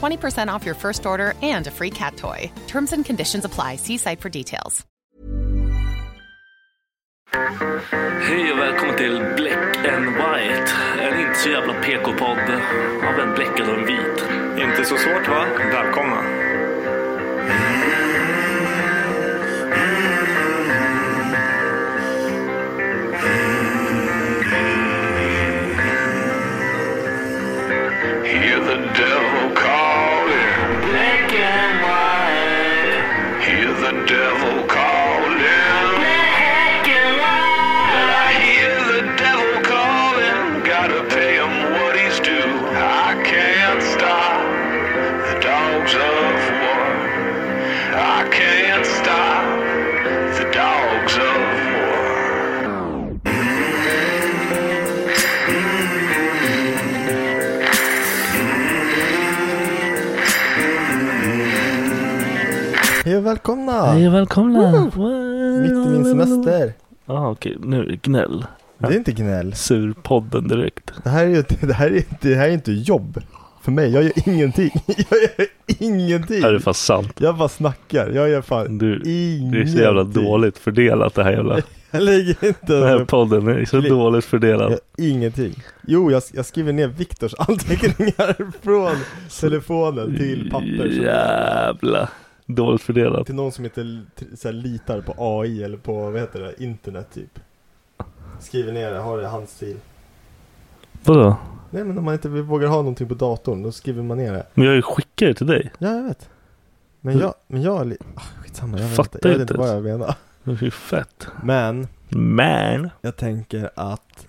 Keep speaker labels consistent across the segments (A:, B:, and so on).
A: 20% off your first order and a free cat toy. Terms and conditions apply. See site for details.
B: Hej och välkommen till Black and White. En inte så jävla PK-podd av en bläckad och en vit.
C: Inte så svårt va? Välkomna.
D: Hear the devil calling. Black and white. Hear the devil calling. Black and white. I hear the devil calling. Gotta pay him what he's due. I can't stop the dogs of war. I can't stop the dogs of war.
E: Hej och välkomna!
B: Hej och välkomna.
E: Mitt i min semester.
B: Ah, okej, nu är det gnäll.
E: Det är inte gnäll.
B: Surpodden direkt.
E: Det här är ju det här är, det här är inte jobb för mig. Jag gör ingenting. Jag gör ingenting.
B: Är det fast sant?
E: Jag bara snackar. Jag gör fan
B: Du,
E: ingenting.
B: det är så jävla dåligt fördelat det här jävla.
E: Jag lägger inte
B: Den här
E: ens upp.
B: podden är så dåligt
E: Klipp. Jag gör
B: fördelad.
E: ingenting. Jo, jag, jag skriver ner Viktors anteckningar från telefonen till papper. som-
B: Jävla dåligt fördelat.
E: Till någon som inte l- t- så här, litar på AI eller på, vad heter det, internet typ. Skriver ner det, har det i handstil.
B: Vadå?
E: Nej men om man inte vågar ha någonting på datorn, då skriver man ner det.
B: Men jag skickar ju till dig.
E: Ja, jag vet. Men
B: Mm.
E: jag, men jag, är li- ah, skitsamma, jag vet
B: Fattar
E: inte. Jag vet
B: inte
E: inte vad jag menar.
B: Det är ju fett.
E: Men
B: Man.
E: jag tänker att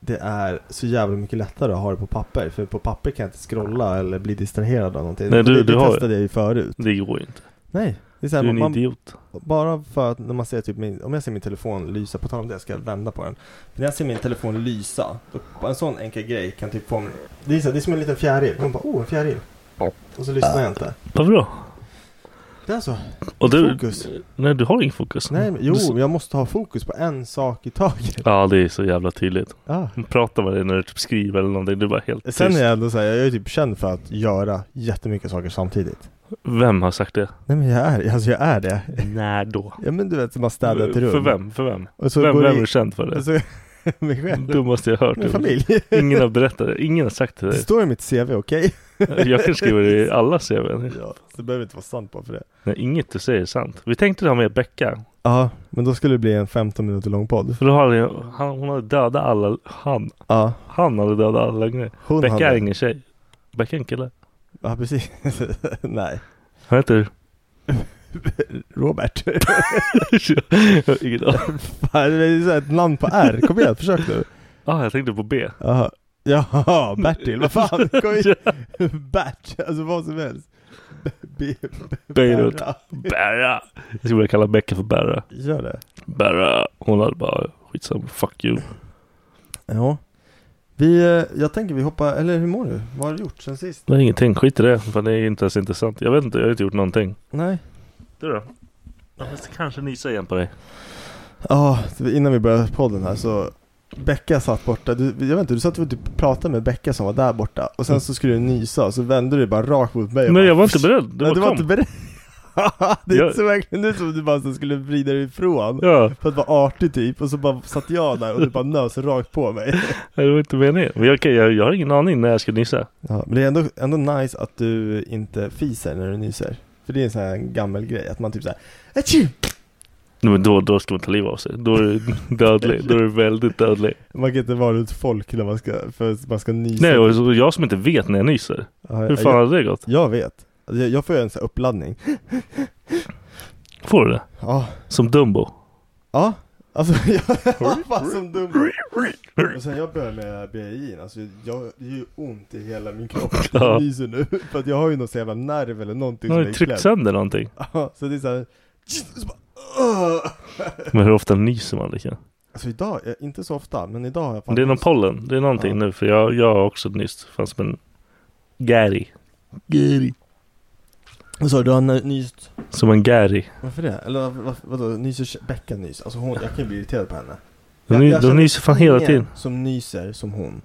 E: det är så jävla mycket lättare att ha det på papper. För på papper kan jag inte scrolla eller bli distraherad av någonting.
B: Nej, du-
E: det,
B: du
E: det
B: har-
E: testade jag ju förut.
B: Det går ju inte.
E: Nej, det är så här,
B: Du är en
E: man,
B: idiot.
E: bara för att när man ser typ min, om jag ser min telefon lysa, på tal om det, jag ska vända på den. Men när jag ser min telefon lysa, då, bara en sån enkel grej kan typ få mig, det är, så här, det är som en liten fjäril. Man bara, oh en fjäril. Och så lyssnar jag inte.
B: Varför då?
E: Det är så.
B: Och du,
E: Fokus.
B: Nej, du har ingen fokus.
E: Nej, men, jo,
B: Du-
E: men jag måste ha fokus på en sak i taget.
B: Ja, det är så jävla tydligt.
E: Ah.
B: Prata med dig när du typ skriver eller någonting. Du är bara helt tyst.
E: Sen är jag ändå så här, jag är typ känd för att göra jättemycket saker samtidigt.
B: Vem har sagt det?
E: Nej men jag är, alltså jag är det.
B: När då?
E: Ja men du vet, man städar ett rum.
B: För vem? För vem?
E: Och så
B: vem
E: går
B: vem
E: det
B: är
E: i- Alltså,
B: känd för det?
E: och så, mig själv.
B: Dummaste jag hört.
E: Min familj.
B: Ingen har berättat det. Ingen har sagt till
E: Det
B: dig.
E: står i mitt CV, okej?
B: Jag kan skriva det i alla CVn.
E: Ja, så det behöver inte vara sant bara för det.
B: Nej, inget du säger är sant. Vi tänkte ha med Becka.
E: Ja, men då skulle det bli en 15 minuter lång podd.
B: För då hade han, hon hade dödat alla. Han,
E: Ja,
B: han hade dödat alla grejer.
E: hon
B: Becka är
E: hade...
B: ingen tjej. Becka är en kille.
E: Ja, precis. Nej.
B: Han heter...
E: Robert.
B: Jag har ingen aning.
E: Fan, det är så här ett namn på R. Kom igen, försök nu.
B: Ah, jag tänkte på B.
E: Jaha. Jaha, Bertil, vad fan? Kom igen. Bert, alltså vad som helst.
B: Beirut. Berra. Jag skulle vilja kalla Becka för Berra.
E: Gör det.
B: Berra. Hon hade bara skitsamma. Fuck you.
E: Ja. Vi, eh, jag tänker vi hoppar, eller hur mår du? Vad har du gjort sen sist?
B: Nej ingenting. Skit i det. För det är inte ens intressant. Jag vet inte. Jag har inte gjort någonting.
E: Nej.
B: Du då? Jag måste kanske nysa igen på dig.
E: Ja, innan vi började podden här så Becka satt borta, du, jag vet inte, du satt och typ pratade med Becka som var där borta och sen så skulle du nysa och så vände du dig bara rakt mot mig och
B: Men
E: bara,
B: Mm. jag var inte beredd. Du
E: Nej,
B: bara
E: du
B: kom.
E: var inte beredd. det
B: Jag-
E: såg verkligen ut som att du bara så skulle vrida dig ifrån
B: Ja.
E: för att vara artig typ och så bara satt jag där och du bara nös rakt på mig.
B: Nej, Det var inte meningen. Men jag, okej, jag, jag har ingen aning när jag ska nysa.
E: Ja, men det är ändå, ändå nice att du inte fiser när du nyser. För det är en sån här gammal grej att man typ såhär Atchoo!
B: Nej, Men då, då ska man ta livet av sig. Då är du dödlig. Då är du väldigt dödlig.
E: Man kan inte vara runt folk när man ska, för att man ska nysa.
B: Nej, och så- jag som inte vet när jag nyser.
E: Ja,
B: Hur fan
E: jag,
B: hade det gått?
E: jag vet. Alltså, Jag, jag får göra en sån här uppladdning.
B: Får du det?
E: Ja,
B: Som Dumbo?
E: ja. Alltså jag var fan som dum. Och sen jag började med BI, alltså jag, det gör ju ont i hela min kropp.
B: Ja.
E: Jag nyser nu. För att jag har ju någon sån jävla nerv eller någonting
B: Nu har
E: som
B: du
E: är
B: tryckt
E: klämd.
B: sönder någonting.
E: Ja, så det är såhär. Så bara, "Åh!"
B: Men hur ofta nyser man liksom?
E: alltså idag, eh, inte så ofta, men idag har jag
B: Men Det är någon pollen. Det är någonting
E: Ja.
B: nu. För jag, jag har också nyss. Fanns som en gäri. Gäri.
E: Vad sa du? Du har n- nyst?
B: Som en gäri.
E: Varför det? Eller varför, varför, vadå? Nyser Becka nys? Alltså hon, jag kan ju bli irriterad på henne.
B: De,
E: Jag-
B: ny,
E: jag
B: de
E: känner
B: nyser fan hela
E: ingen
B: tiden.
E: som nyser som hon.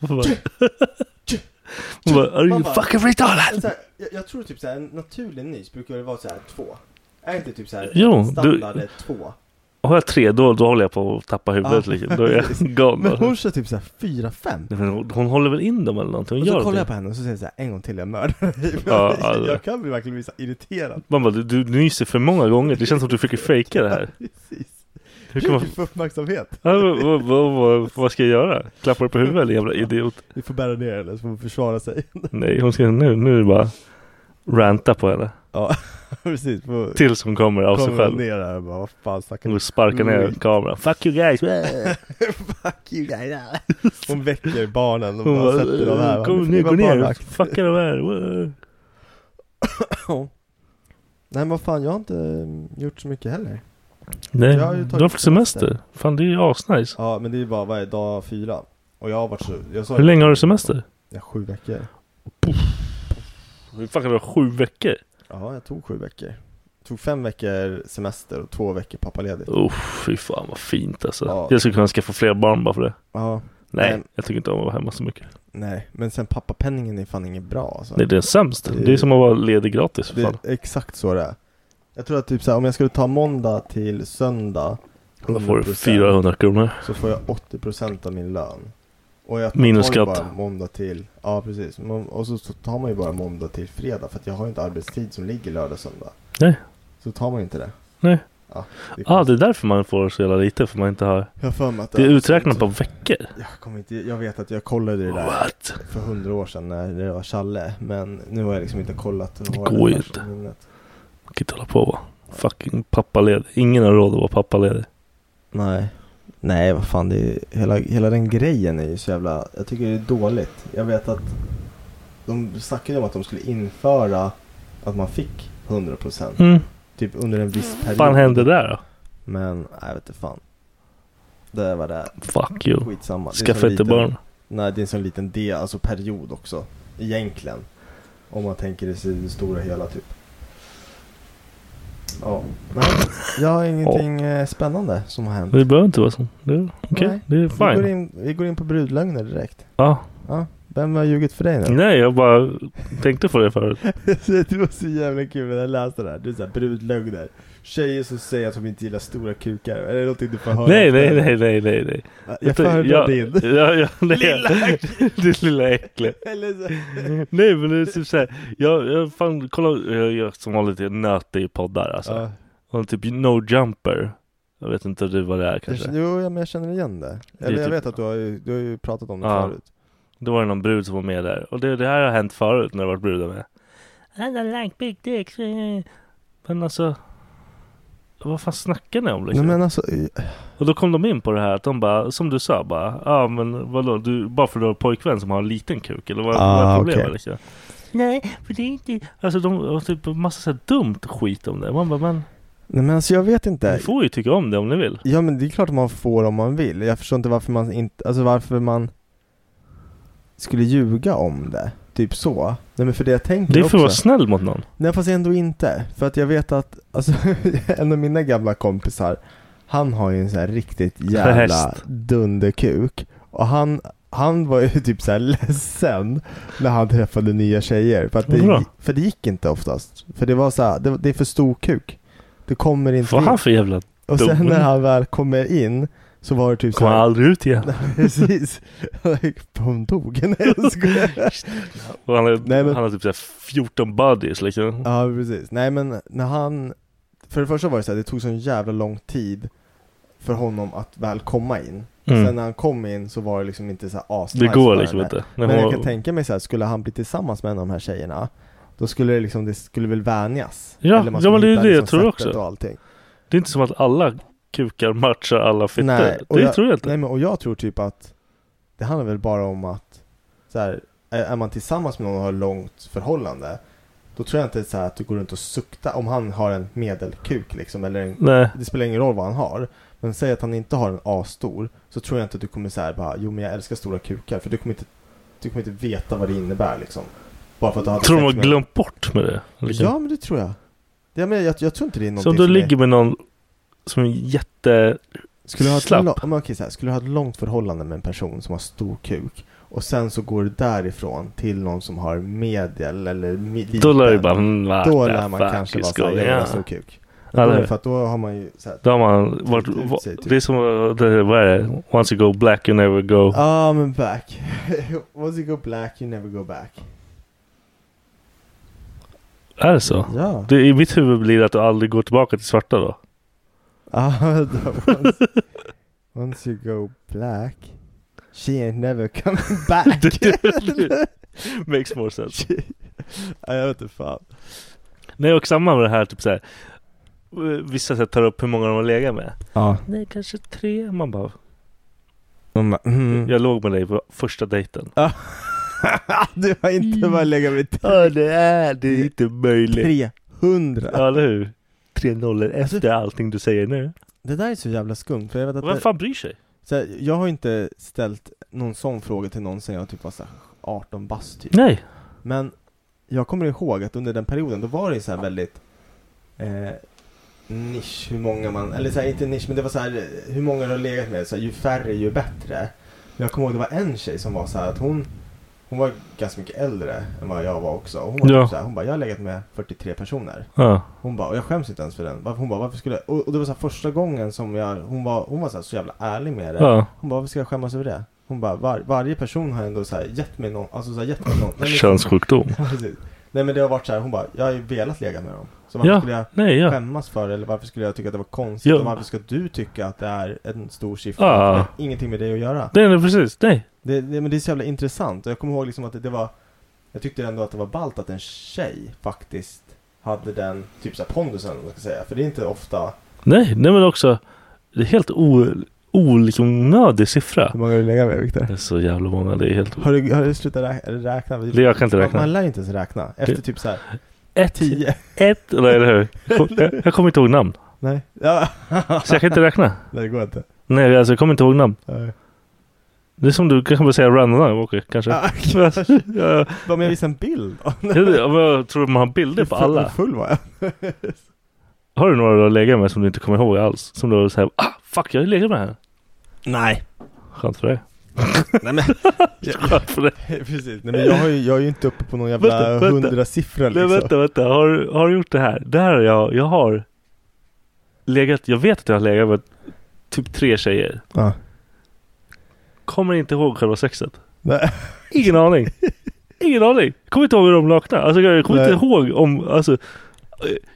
B: Hon bara- Hon bara, Are
E: Man
B: you
E: bara-
B: fucking retarded?
E: Men så här, Alltså, jag, jag tror typ såhär, en naturlig nys brukar väl vara såhär två? Är inte typ såhär
B: Jo, du-
E: standard är två?
B: Har jag tre då, då håller jag på att tappa huvudet
E: Ja,
B: liksom. Då är jag
E: precis.
B: gone.
E: Men hon
B: Hon...
E: kör typ såhär fyra, fem.
B: Men hon, hon håller väl in dem eller någonting? Hon
E: Och så
B: gör
E: kollar jag
B: det.
E: på henne och så säger jag såhär, en gång till jag mördar dig.
B: Ja, alltså.
E: Jag kan bli verkligen bli så här irriterad.
B: Man bara, du, du nyser för många gånger. Det känns som att du försöker fejka det här.
E: Precis.
B: Hur kan
E: Du
B: man...
E: vill få uppmärksamhet.
B: Ja, vad, vad, vad, vad, vad ska jag göra? Klappa dig på huvudet eller jävla idiot?
E: Du får bära ner henne så får hon försvara sig.
B: Nej, hon ska nu, nu är det bara ranta på henne.
E: Ja, precis. Får-
B: Tills hon kommer av sig
E: Kommer hon
B: själv.
E: ner där och bara, vad fan snackar ni
B: Hon sparkar ner
E: Oj.
B: kameran. Fuck you guys!
E: Fuck you guys. Hon väcker barnen och
B: Hon
E: bara sätter dem här.
B: bara, kom nu, gå ner! Fucka de här! Wow.
E: Nej men vad fan, jag har inte eh, gjort så mycket heller.
B: Nej,
E: Jag har ju tagit
B: du har fått semester. Fan, det är ju asnice.
E: Ja men det är bara varje dag fyra. Och jag har varit så, jag sa
B: Hur länge har du semester?
E: Ja, sju veckor.
B: Hur fan kan du ha sju veckor?
E: Ja, jag tog sju veckor. Jag tog fem veckor semester och två veckor pappaledigt.
B: Oh, fy fan vad fint alltså.
E: Ja.
B: Jag skulle kunna skaffa fler barn bara för det.
E: Ja,
B: Nej,
E: Nej.
B: jag tycker inte om att vara hemma så mycket.
E: nej. Men sen pappapenningen är fan inget bra alltså.
B: Nej, det är sämst.
E: Det-
B: Det är som att vara ledig gratis för
E: Det
B: fan.
E: är exakt så det är. Jag tror att typ så här, om jag skulle ta måndag till söndag
B: Då får du
E: 100%,
B: 400 kronor.
E: Så får jag 80% av min lön. Och jag
B: Minus
E: tar ju
B: skatt.
E: bara måndag till, ja precis. Må- Och så så tar man ju bara måndag till fredag för att jag har ju inte arbetstid som ligger lördag söndag.
B: Nej.
E: Så tar man ju inte det.
B: Nej.
E: Ja, det är
B: Ja, ah, det
E: konstigt.
B: är därför man får så jävla lite. För man inte har...
E: Jag har för mig att
B: Det är
E: har-
B: uträknat på veckor.
E: Jag kommer inte, jag vet att jag kollade det där
B: What?
E: för hundra år sedan när det var Challe. Men nu har jag liksom inte kollat. Det
B: går ju inte. Man kan inte hålla på och vara fucking pappaledig. Ingen har råd att vara pappaledig.
E: Nej. Nej, vad fan, det är, hela, hela den grejen är ju så jävla, jag tycker det är dåligt. Jag vet att de snackade ju om att de skulle införa att man fick 100%
B: Mm.
E: typ under en viss period.
B: Vad fan hände där då?
E: Men, nej, jag vet inte fan. Det var det,
B: Fuck you.
E: skitsamma. Det är så
B: Skaffa inte
E: liten-
B: barn.
E: Nej, det är en sån liten del, alltså period också. Egentligen. Om man tänker det sig i det stora hela typ. Ja, men jag har ingenting eh, spännande som har hänt.
B: Det behöver inte vara så. Det är okej.
E: Nej.
B: Det är
E: Vi går,
B: fine.
E: in, vi går in på brudlögner direkt.
B: Ja.
E: Ja, vem har ljugit för dig nu?
B: Nej, jag bara tänkte på det förut.
E: det var så jävla kul när jag läste det här. Det är såhär brudlögner. Tjejer som säger att de inte gillar stora kukar. Är det någonting du får höra?
B: Nej,
E: ofta?
B: nej, nej, nej, nej, nej.
E: Jag föredrar
B: jag,
E: din.
B: Ja, ja, nej.
E: Lilla
B: Det lilla äckle.
E: Eller så-
B: Nej men det är typ såhär. Jag, jag fan kolla. Jag, jag som vanligt jag nöter i poddar alltså.
E: Ja.
B: Och typ No Jumper. Jag vet inte du vad det är
E: Jag,
B: kanske.
E: känner- jo, ja, men jag känner igen det.
B: är
E: Eller jag
B: typ-
E: vet att du har ju, du har ju pratat om det
B: Ja.
E: förut.
B: Då var det någon brud som var med där. Och det, det här har hänt förut när det varit "Äh, brudar med. I don't like big dicks. eh. Men alltså. vad fan snackar ni om
E: Nej,
B: liksom?
E: men alltså, eh,
B: Och då kom de in på det här att de bara, som du sa bara, ja ah, men vadå, du, bara för att du har en pojkvän som har en liten kuk eller vad,
E: Ah,
B: vad är problemet
E: okej.
B: liksom? Nej, för det är inte... Alltså de har typ massa så här dumt skit om det. Man bara, men
E: nej, men alltså jag vet inte.
B: ni får ju tycka om det om ni vill.
E: Ja men det är klart man får om man vill. Jag förstår inte varför man inte, alltså varför man skulle ljuga om det. Typ så. Nej men för det jag tänker
B: Det är för
E: också.
B: att vara snäll mot någon.
E: Nej fast ändå inte. För att jag vet att, alltså en av mina gamla kompisar, han har ju en sån här riktigt jävla
B: Häst.
E: dunderkuk. Och han, han var ju typ så här ledsen när han träffade nya tjejer. För, att
B: Varför då?
E: det, för det gick inte oftast. För det var så här, det, det är för stor kuk. Det kommer inte
B: Vad
E: in.
B: han för jävla...
E: Och
B: dum?
E: sen när han väl kommer in så var det typ så
B: Kommer
E: här,
B: han aldrig ut igen?
E: Precis. Hon dog. Nej, jag skojar.
B: Och han, är,
E: Nej, men-
B: han har typ så här 14 buddies liksom.
E: Ja, precis. Nej, men när han... För det första var det så här, det tog så en jävla lång tid för honom att väl komma in.
B: Mm.
E: Sen när han kom in så var det liksom inte så här asnice
B: Det går
E: för
B: liksom
E: henne.
B: inte. När
E: Men jag
B: hon,
E: kan tänka mig så här, skulle han bli tillsammans med en av de här tjejerna, då skulle det liksom, det skulle väl vänjas?
B: Ja,
E: man
B: ja, men
E: skulle
B: det är
E: hitta liksom
B: det jag tror
E: sättet
B: också.
E: Och allting.
B: det är inte som att alla kukar matchar alla fittor.
E: och
B: Det tror jag inte.
E: Nej, men, och jag tror typ att det handlar väl bara om att så här, är är man tillsammans med någon och har långt förhållande då tror jag inte så här att du går runt och suktar om han har en medelkuk liksom eller en,
B: Nej.
E: det spelar ingen roll vad han har men säg att han inte har en A-stor så tror jag inte att du kommer så här bara jo men jag älskar stora kukar för du kommer inte du kommer inte veta vad det innebär liksom bara för att du hade
B: Tror de har
E: sex med-
B: glömt bort med det? liksom.
E: Ja men det tror jag jag, men, jag, jag tror inte det är
B: Så
E: någonting
B: om du
E: som är-
B: ligger med någon som är jätte...
E: Skulle du, ha ett
B: Slapp.
E: lång, men okej, så här, skulle du ha ett långt förhållande med en person som har stor kuk och sen så går du därifrån till någon som har medel eller mi- liten.
B: Då lär du bara... mm, what
E: Då
B: the
E: lär man
B: fuck
E: kanske vara
B: is
E: såhär, jag
B: going
E: vill ha
B: on?
E: stor kuk.
B: Ja,
E: Då
B: det
E: är
B: är
E: det för att då har man ju såhär,
B: Då har man varit...
E: Ut
B: va-
E: sig, typ.
B: Det är som... uh, Det, vad är det? Once you go black you never go...
E: ah men back. Once you go black you never go back.
B: Är det så?
E: Ja.
B: Det, I mitt huvud blir det att du aldrig går tillbaka till svarta då.
E: Ah, då- once, once you go black she ain't never coming back.
B: Makes more sense.
E: ah, jag vet inte fan.
B: Nej och samma med det här typ såhär. Vissa så här, tar upp hur många de har legat med.
E: Ja.
B: Nej kanske tre. Man bara.
E: Man bara, mm.
B: Jag låg med dig på första dejten.
E: Du har inte bara legat vid
B: Ja det är det är inte möjligt.
E: 300.
B: Ja eller hur? Alltså- Tre nollor efter allting du säger nu.
E: Det där är så jävla skumt, för jag vet att
B: Vem
E: det,
B: fan bryr sig?
E: så här, jag har inte ställt någon sån fråga till någon sen jag typ var så här 18 bast typ.
B: Nej.
E: Men jag kommer ihåg att under den perioden, då var det ju så här väldigt eh, nisch hur många man, eller så här, inte nisch men det var så här eh, hur många du har legat med, så här, ju färre ju bättre. Men jag kommer ihåg det var en tjej som var så här att hon, hon var ganska mycket äldre än vad jag var också. Hon var
B: Ja.
E: typ så här, hon bara, jag har legat med 43 personer.
B: Ja.
E: Hon bara, och jag skäms inte ens för den. Varför, hon bara, varför skulle jag? Och, och det var så här första gången som jag, hon var, hon var så, här, så jävla ärlig med det.
B: Ja.
E: Hon bara, varför ska jag skämmas över det? Hon bara, var, varje person har ändå så här gett mig någon, alltså så här gett mig någon.
B: liksom-
E: Nej, men-
B: Könssjukdom.
E: Ja, precis. Nej men det har varit så här, hon bara, jag har ju velat lägga med dem. Så varför
B: Ja.
E: skulle jag
B: Nej ja.
E: skämmas för det? Eller varför skulle jag tycka att det var konstigt?
B: Ja.
E: Och varför ska du tycka att det är en stor siffra?
B: Ja.
E: Det har ingenting med dig att göra.
B: Nej nej precis. Nej.
E: Det, det, men det är så jävla intressant. Och jag kommer ihåg liksom att det, det var, jag tyckte ändå att det var ballt att en tjej faktiskt hade den typ såhär pondusen, om man ska säga. För det är inte ofta
B: Nej. Nej men också. Det är helt o- oliknödig siffra.
E: Hur många har du legat med Viktor?
B: Det är så jävla många. Det är helt...
E: Har du, har du slutat räkna? Eller räkna?
B: Det- Jag kan inte räkna.
E: Man lär ju inte ens räkna. Efter
B: Det-
E: typ så här
B: Ett,
E: 10.
B: ett, nej eller hur? Jag kom- Jag, jag kommer inte ihåg namn.
E: Nej. Ja.
B: Så jag kan inte räkna.
E: Nej, det går inte.
B: Nej, alltså jag kommer inte ihåg namn.
E: Nej.
B: Det är som du kan bara säga random namn, Walker, kanske.
E: Ah,
B: Ja, ja.
E: Vad men jag visade en bild.
B: Jag vet- jag tror man har bilder på
E: Hur
B: alla.
E: full var jag?
B: Har du några du har legat med som du inte kommer ihåg alls? Som du säger ah fuck jag har ju legat med henne.
E: Nej.
B: Skönt för dig.
E: Nej men.
B: Skönt för dig.
E: Precis. Nej men jag, har ju, jag är ju inte uppe på någon
B: Vänta,
E: jävla
B: vänta.
E: hundrasiffra
B: Nej
E: liksom.
B: vänta, vänta. Har, du- har du gjort det här? Det här har jag, jag har legat, jag vet att jag har legat med typ tre tjejer.
E: Ja.
B: Kommer inte ihåg själva sexet.
E: Nej.
B: Ingen aning. Ingen aning. Jag kommer inte ihåg hur de lakna. Alltså jag kommer
E: Nej.
B: inte ihåg om, alltså. eh,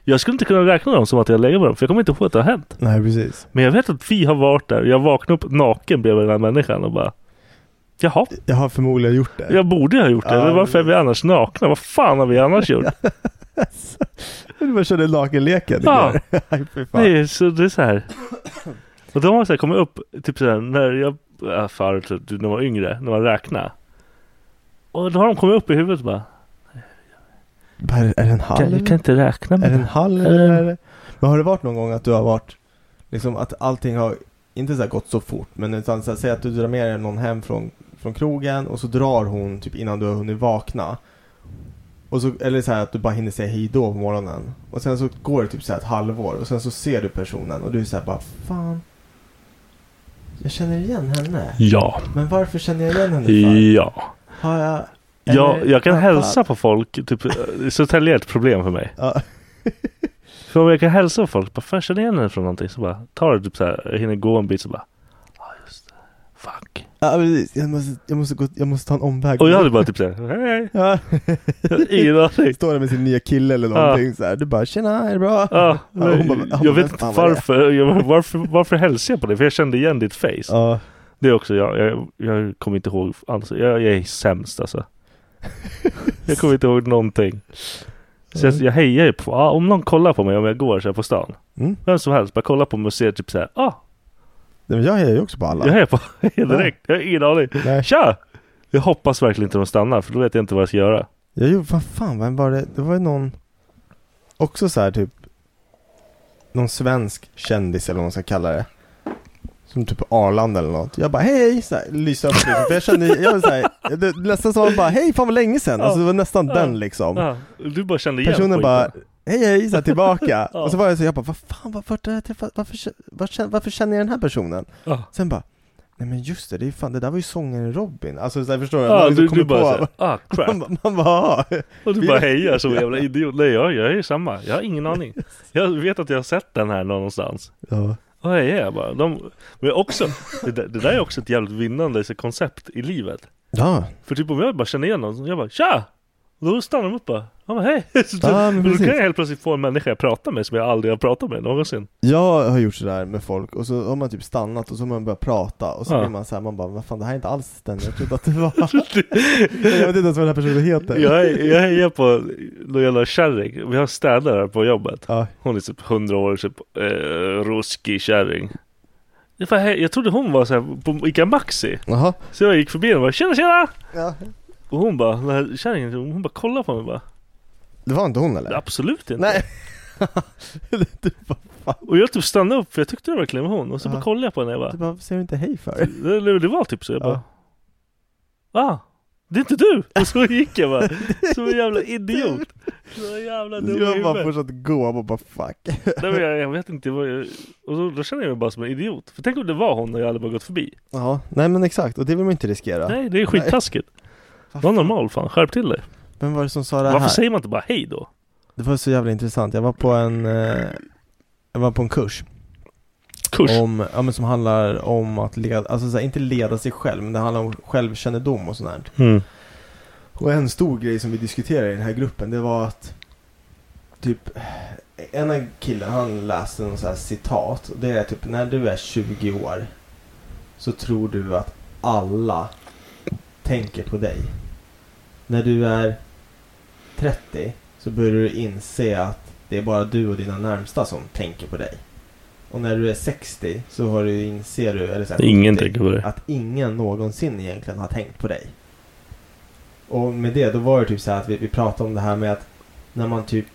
B: Jag skulle inte kunna räkna dem som att jag lägger med dem, för jag kommer inte ihåg att det har hänt.
E: Nej precis.
B: Men jag vet att vi har varit där. Jag vaknade upp naken bredvid den här människan och bara Jaha,
E: Jag har förmodligen gjort det.
B: jag borde ju ha gjort det.
E: Ja,
B: Men varför är vi annars nakna? Vad fan har vi annars gjort?
E: Du bara körde lakenleken
B: Ja.
E: igår. Aj, fy fan.
B: Nej, så det är så här. Och de har så här kommit upp, typ så här, när jag, äh, förut, typ, när man var yngre, när man räknade. Och då har de kommit upp i huvudet bara.
E: Vad Är, är det en halv?
B: Kan, jag kan inte räkna med
E: Är det en
B: det.
E: halv
B: Är det-
E: eller? är det- Men har det varit någon gång att du har varit liksom att allting har inte så här gått så fort men utan så här, säg att du drar med dig någon hem från, från krogen och så drar hon typ innan du har hunnit vakna. Och så, eller så här att du bara hinner säga hej då på morgonen. Och sen så går det typ så här ett halvår och sen så ser du personen och du är så här bara fan. Jag känner igen henne.
B: Ja.
E: Men varför känner jag igen henne för?
B: Ja.
E: Har jag?
B: Jag,
E: eller-
B: jag kan
E: Ah, fan.
B: hälsa på folk. Typ, äh, Södertälje är ett problem för mig.
E: Ja.
B: För om jag kan hälsa på folk, bara fan känner jag igen henne från någonting? Så bara tar det typ så här, jag hinner gå en bit så bara. "Ah,
E: Ja, precis. Jag måste, jag, måste gå, jag måste ta en omväg.
B: Och jag hade bara typ så här, hej.
E: Ja.
B: Ingen aning.
E: Står där med sin nya kille eller någonting så här. Du bara tjena, är det bra?
B: Ja,
E: Ja,
B: nej,
E: hon bara, ja,
B: Ah, jag
E: men
B: vet inte
E: fan vad det är.
B: varför, jag, varför, varför hälsade jag på dig? För jag kände igen ditt face.
E: Ja.
B: Det är också jag, jag, jag kommer inte ihåg, alltså, jag, jag är sämst alltså. jag kommer inte ihåg någonting. Så jag, jag hejar ju på, ah, om någon kollar på mig om jag går så här på stan.
E: Mm.
B: Vem som helst, bara kollar på mig och ser typ såhär, ah,
E: Nej, men jag hejar ju också på alla.
B: jag hejar på dig direkt. Jag har ingen aning.
E: Nej.
B: Tja! Jag hoppas verkligen inte de stannar för då vet jag inte vad jag ska göra.
E: Jag gjorde, vad fan vem var det? Det var ju någon, också så här typ, någon svensk kändis eller vad man ska kalla det. Som typ Arlanda eller något. Jag bara hej, så här, lyser upp liksom. För jag kände, jag var så här, det, nästan som bara hej fan vad länge sedan. Alltså det var nästan
B: Ja.
E: den liksom.
B: Ah, du bara kände igen
E: Personen
B: skiten.
E: bara Hej hej, så här, tillbaka.
B: Ja.
E: Och så var jag så, jag bara, vad fan, var, vart har jag träffat, varför, kä- var, kä- varför känner jag den här personen?
B: Ja.
E: Sen bara, nej men just det, det, är fan, det där var ju sångaren Robin. Alltså så här, förstår du? Man
B: ah,
E: liksom
B: du,
E: kommer
B: du bara
E: på-
B: såhär, ah crap.
E: man, man bara, "Ah." "Ja."
B: Och du
E: Vi-
B: bara hejar som en jävla idiot. Nej jag, jag är ju samma. Jag har ingen aning. Jag vet att jag har sett den här någonstans.
E: Ja.
B: Och jag hejar bara. De, men också, det, där- det där är också ett jävligt vinnande så, koncept i livet.
E: Ja,
B: För typ om jag bara känner igen någon, jag bara tja! Och då stannar de upp bara. Ja men hej! Så,
E: Ja, men
B: då
E: precis.
B: kan jag helt plötsligt få en människa jag pratar med som jag aldrig har pratat med någonsin.
E: jag har gjort sådär med folk och så har man typ stannat och så har man börjat prata och så
B: Ja.
E: blir man såhär, man bara, vad fan det här är inte alls den jag trodde att det var. jag vet inte ens vad den här personen heter.
B: Jag, är- jag hejar på någon jävla kärring. Vi har en städare här på jobbet.
E: Ja.
B: Hon är typ 100 år, typ eh, ruskig kärring. Jag, bara, hej- jag trodde hon var så här på Ica Maxi.
E: Jaha.
B: Så jag gick förbi och bara tjena tjena!
E: Ja.
B: Och hon bara, den här kärringen, hon bara kollar på mig bara.
E: Det var inte hon eller?
B: Absolut inte.
E: Nej.
B: Och jag typ stannade upp för jag tyckte det verkligen var hon. Och så
E: Ja.
B: bara kollade jag på henne och jag
E: Du
B: bara.
E: bara, säger du inte hej för?
B: Det, det, det var typ så. Jag bara. Ah, det är inte du! Och så gick jag bara. Som en jävla idiot. Så jävla dum i
E: Jag bara
B: huvudet.
E: fortsatt gå och bara fuck.
B: Nej, men jag, jag vet inte vad jag... Och då, då känner jag mig bara som en idiot. För tänk om det var hon och jag hade bara gått förbi.
E: Ja, nej men exakt och det vill man inte riskera.
B: Nej, det är skittaskigt.
E: Vad
B: Var normal fan, skärp till dig.
E: Vem var det som sa det
B: Varför
E: här?
B: säger man inte bara hej då?
E: Det var så jävla intressant. Jag var på en eh, Jag var på en kurs,
B: Kurs.
E: Om, ja, men som handlar om att leda, alltså så här, inte leda sig själv men det handlar om självkännedom och sånt där.
B: Mm.
E: Och en stor grej som vi diskuterade i den här gruppen det var att Typ En av killen han läste någon så här citat och det är typ när du är 20 år Så tror du att alla Tänker på dig När du är 30 Så börjar du inse att Det är bara du och dina närmsta som tänker på dig Och när du är 60 så har du inser du eller så här,
B: Ingen
E: 70,
B: tänker på dig.
E: Att ingen någonsin egentligen har tänkt på dig och med det, då var det typ så här att vi, vi pratade om det här med att när man typ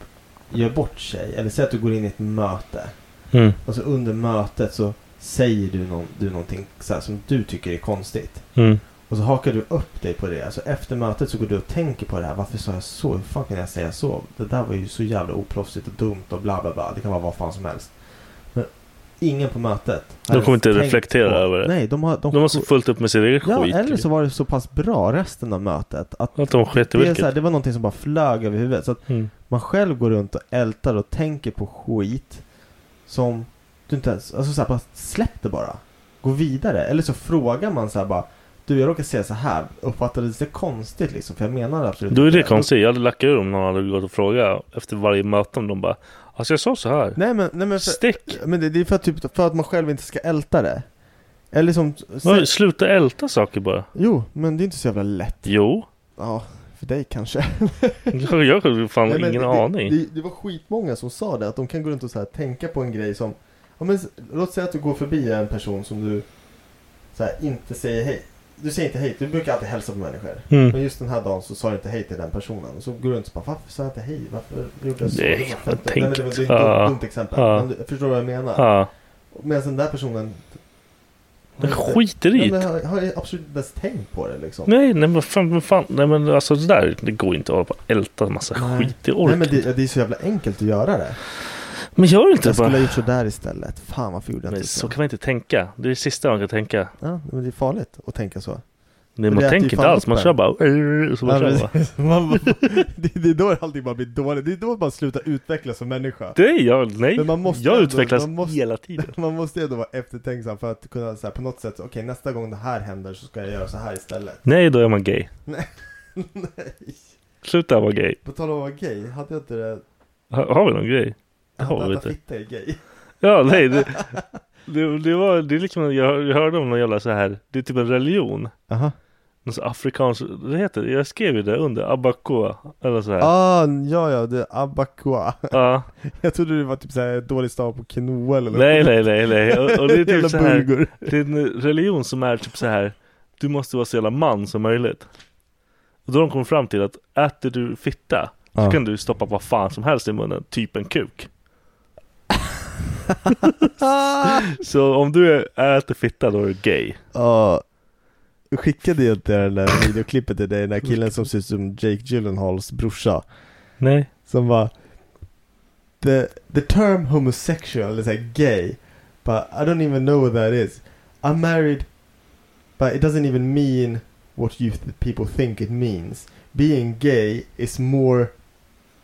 E: gör bort sig, eller säg att du går in i ett möte
B: Mm.
E: och så under mötet så säger du, någon, du någonting så här som du tycker är konstigt.
B: Mm.
E: Och så hakar du upp dig på det. Alltså efter mötet så går du och tänker på det här. Varför sa jag så? Hur fan kan jag säga så? Det där var ju så jävla oproffsigt och dumt och bla bla bla. Det kan vara vad fan som helst. Men ingen på mötet. hade
B: kommer inte
E: tänkt
B: reflektera
E: på-
B: över det.
E: Nej, de har... De,
B: De har så fullt upp med sin egen
E: ja,
B: skit.
E: eller så var det så pass bra resten av mötet att
B: Att de sket i
E: det, är
B: vilket.
E: så här, det var någonting som bara flög över huvudet. Så att
B: Mm.
E: man själv går runt och ältar och tänker på skit som du inte ens... Alltså så här, bara släpp det bara. Gå vidare. Eller så frågar man så här bara. Du, jag råkar säga så här. Uppfattades det konstigt liksom? För jag menar det absolut
B: Då är
E: inte
B: det konstigt. Jag hade lackat ur om någon hade gått och frågat efter varje möte om de bara Alltså jag sa så här.
E: Nej men, nej, men, för,
B: Stick!
E: men det, det är för att, typ, för att man själv inte ska älta det. Eller som...
B: Oj, Sluta älta saker bara.
E: Jo, men det är inte så jävla lätt.
B: Jo.
E: Ja, för dig kanske.
B: Jag jag har fan
E: Nej, men
B: ingen
E: det,
B: aning.
E: Det, det var skitmånga som sa det, att de kan gå runt och så här, tänka på en grej som... Ja, men, s- låt säga att du går förbi en person som du så här, inte säger hej. Du säger inte hej, du brukar alltid hälsa på människor.
B: Mm.
E: Men just den här dagen så sa du inte hej till den personen. Och så går du runt och bara, varför sa jag inte hej? Varför gjorde jag så?
B: Nej,
E: Varför
B: vad
E: inte?"
B: tänker
E: Nej, men det var det är ett
B: Ja.
E: dumt exempel.
B: Ja.
E: Men du, förstår du vad jag menar?
B: Ja.
E: Medan den där personen...
B: Den skiter i
E: Ja, men
B: det.
E: har, har ju absolut inte ens tänkt på det liksom.
B: Nej, nej men fan, men fan. Nej men alltså det där, det går inte att hålla på och älta en massa skit. Det orkar
E: Nej men det, det är så jävla enkelt att göra det.
B: Men gör inte
E: Jag
B: bara.
E: skulle ha gjort sådär istället. Fan varför gjorde jag
B: Men
E: inte
B: så kan man inte tänka. Det är det sista man kan tänka.
E: Ja, men det är farligt att tänka så.
B: Nej,
E: Det
B: man
E: lät ju
B: tänker inte
E: fan
B: alls. Man
E: uppe.
B: kör bara... Och så bara
E: Ja,
B: kör man.
E: precis. Man bara- det, det är då allting bara blir dåligt. Det är då man slutar utvecklas som människa.
B: Det är jag. Nej.
E: Men man måste
B: jag
E: ändå-
B: utvecklas
E: man måste-
B: hela tiden.
E: Man måste ju ändå vara eftertänksam för att kunna så här, på något sätt, okej nästa gång det här händer så ska jag göra så här istället.
B: Nej, då är man gay.
E: Nej.
B: Sluta vara gay.
E: På tal om att vara gay, hade jag inte det?
B: Har, har vi någon grej? Det
E: Att
B: har vi inte.
E: äta fitta är gay.
B: Ja, nej. Det, det, det var... Det är liksom... Jag, hör- jag hörde om någon jävla så här... Det är typ en religion.
E: Aha.
B: Någon så afrikansk... Det heter... Jag skrev ju det under. Abakoa. Eller så här.
E: Ah, ja ja, det är abacoa.
B: Ja.
E: Jag trodde det var typ såhär dålig stav på quinoa eller något.
B: Nej, nej, nej, nej. Och, och det är
E: Jävla
B: typ så här,
E: bulgur.
B: Det är en religion som är typ så här. Du måste vara så jävla man som möjligt. Och då har de kommit fram till att äter du fitta så
E: Ja.
B: kan du stoppa vad fan som helst i munnen, typ en kuk.
E: Ah.
B: så om du är- äter fitta då är du gay.
E: Ja Skickade jag inte det där videoklippet till dig, den där killen som ser ut som Jake Gyllenhaals brorsa
B: Nej.
E: Som bara The, the term homosexual, eller såhär gay But I don't even know what that is I'm married But it doesn't even mean what you th- people think it means Being gay is more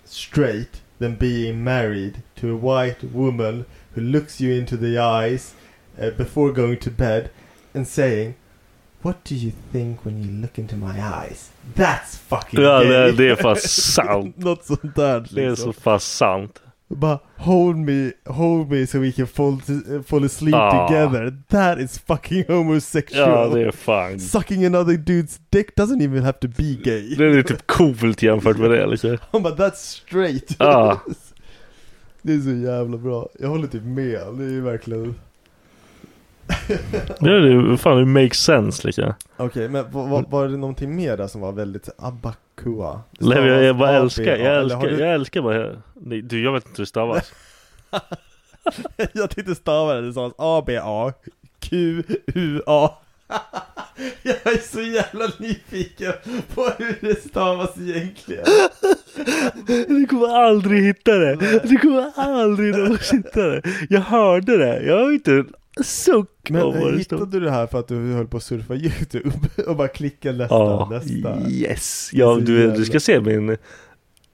E: straight than being married to a white woman who looks you into the eyes uh, before going to bed and saying, What do you think when you look into my eyes? That's fucking
B: Ja,
E: gay.
B: det, det är fast sant.
E: Något sånt där liksom.
B: Det är så fast sant.
E: Bara hold me, hold me so we can fall, to, fall asleep
B: Ah.
E: together. That is fucking homosexual.
B: Ja, det är fan.
E: Sucking another dude's dick doesn't even have to be gay.
B: Det är typ coolt jämfört med det liksom.
E: Han bara that's straight.
B: Ja.
E: Det är så jävla bra. Jag håller typ med. Det är ju verkligen...
B: Det är det, fan det makes sense liksom.
E: Okej, men va- va- var det någonting mer där som var väldigt abakua?
B: Nej, men jag, jag bara älskar,
E: Eller
B: jag
E: har
B: älskar,
E: du-
B: jag älskar bara Nej, du jag vet inte hur det stavas
E: jag tänkte stava det, det sades A-B-A Q-U-A Jag är så jävla nyfiken på hur det stavas egentligen
B: Du kommer aldrig hitta det! Du kommer aldrig någonsin hitta det! Jag hörde det, jag har inte en suck
E: Men
B: om vad det
E: hittade
B: stod
E: du det här för att du höll på att surfa youtube och bara klicka nästa,
B: Ja,
E: nästa?
B: yes! Ja, du, du ska se min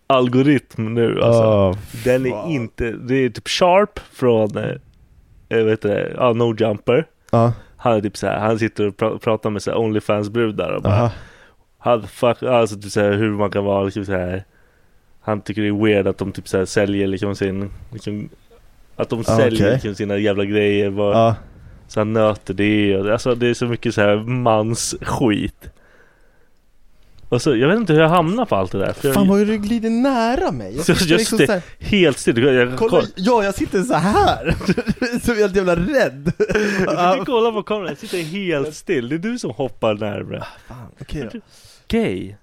B: algoritm nu alltså
E: Ja,
B: Den är
E: fan.
B: inte, det är typ Sharp från, eh, eh, vad heter det, ja, No Jumper
E: Ja,
B: Han är typ så här, han sitter och pra- pratar med så här Onlyfans-brudar och bara
E: aha.
B: Han fuck, alltså typ såhär hur man kan vara liksom såhär Han tycker det är weird att de typ såhär säljer liksom sin liksom, Att de
E: Ah,
B: säljer
E: okej. Ah.
B: liksom sina jävla grejer vad,
E: Ja,
B: Så han nöter det och, Alltså det är så mycket såhär mans skit Och så, jag vet inte hur jag hamnar på allt det där för
E: Fan
B: jag,
E: vad du glider nära mig!
B: Så
E: sitter
B: just
E: liksom
B: det.
E: så här-
B: Helt still, jag, jag,
E: Kolla,
B: kolla,
E: ja jag sitter så här Som helt jävla rädd! Ah.
B: jag, kolla på kameran, jag sitter helt still Det är du som hoppar närmre
E: Fan, okej då.
B: Gay?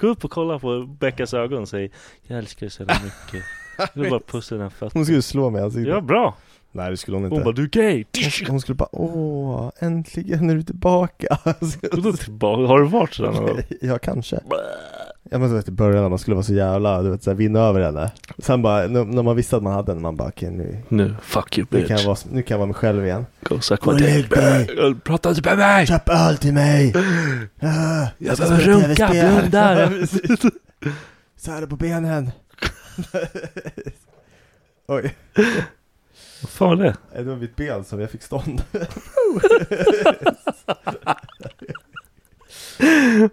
B: Gå upp och kolla på Beckas ögon och säg Jag älskar dig så jävla mycket Du bara pussa dina fötter
E: Hon skulle slå mig i ansiktet
B: Ja bra!
E: Nej det skulle hon inte
B: Hon bara du är gay!
E: Hon- Hon skulle bara åh, äntligen är du tillbaka
B: Och då tillbaka, har du varit sådär någon gång?
E: Ja kanske Jag måste veta i början när man skulle vara så jävla, du vet såhär vinna över henne Sen bara, när när man visste att man hade den, man bara okej nu,
B: Nu, fuck you
E: nu
B: bitch.
E: kan jag vara, nu kan jag vara mig själv igen
B: Go suck
E: Gå
B: my
E: och lägg
B: dick
E: dig.
B: bitch. Prata inte med mig!
E: Köp öl till mig! Ah,
B: Jag
E: ska
B: behöver
E: spela
B: runka,
E: TV-spel.
B: blunda.
E: Ja, precis. Så här på benen Oj,
B: Vad fan var det?
E: det var mitt ben som jag fick stånd
B: Åh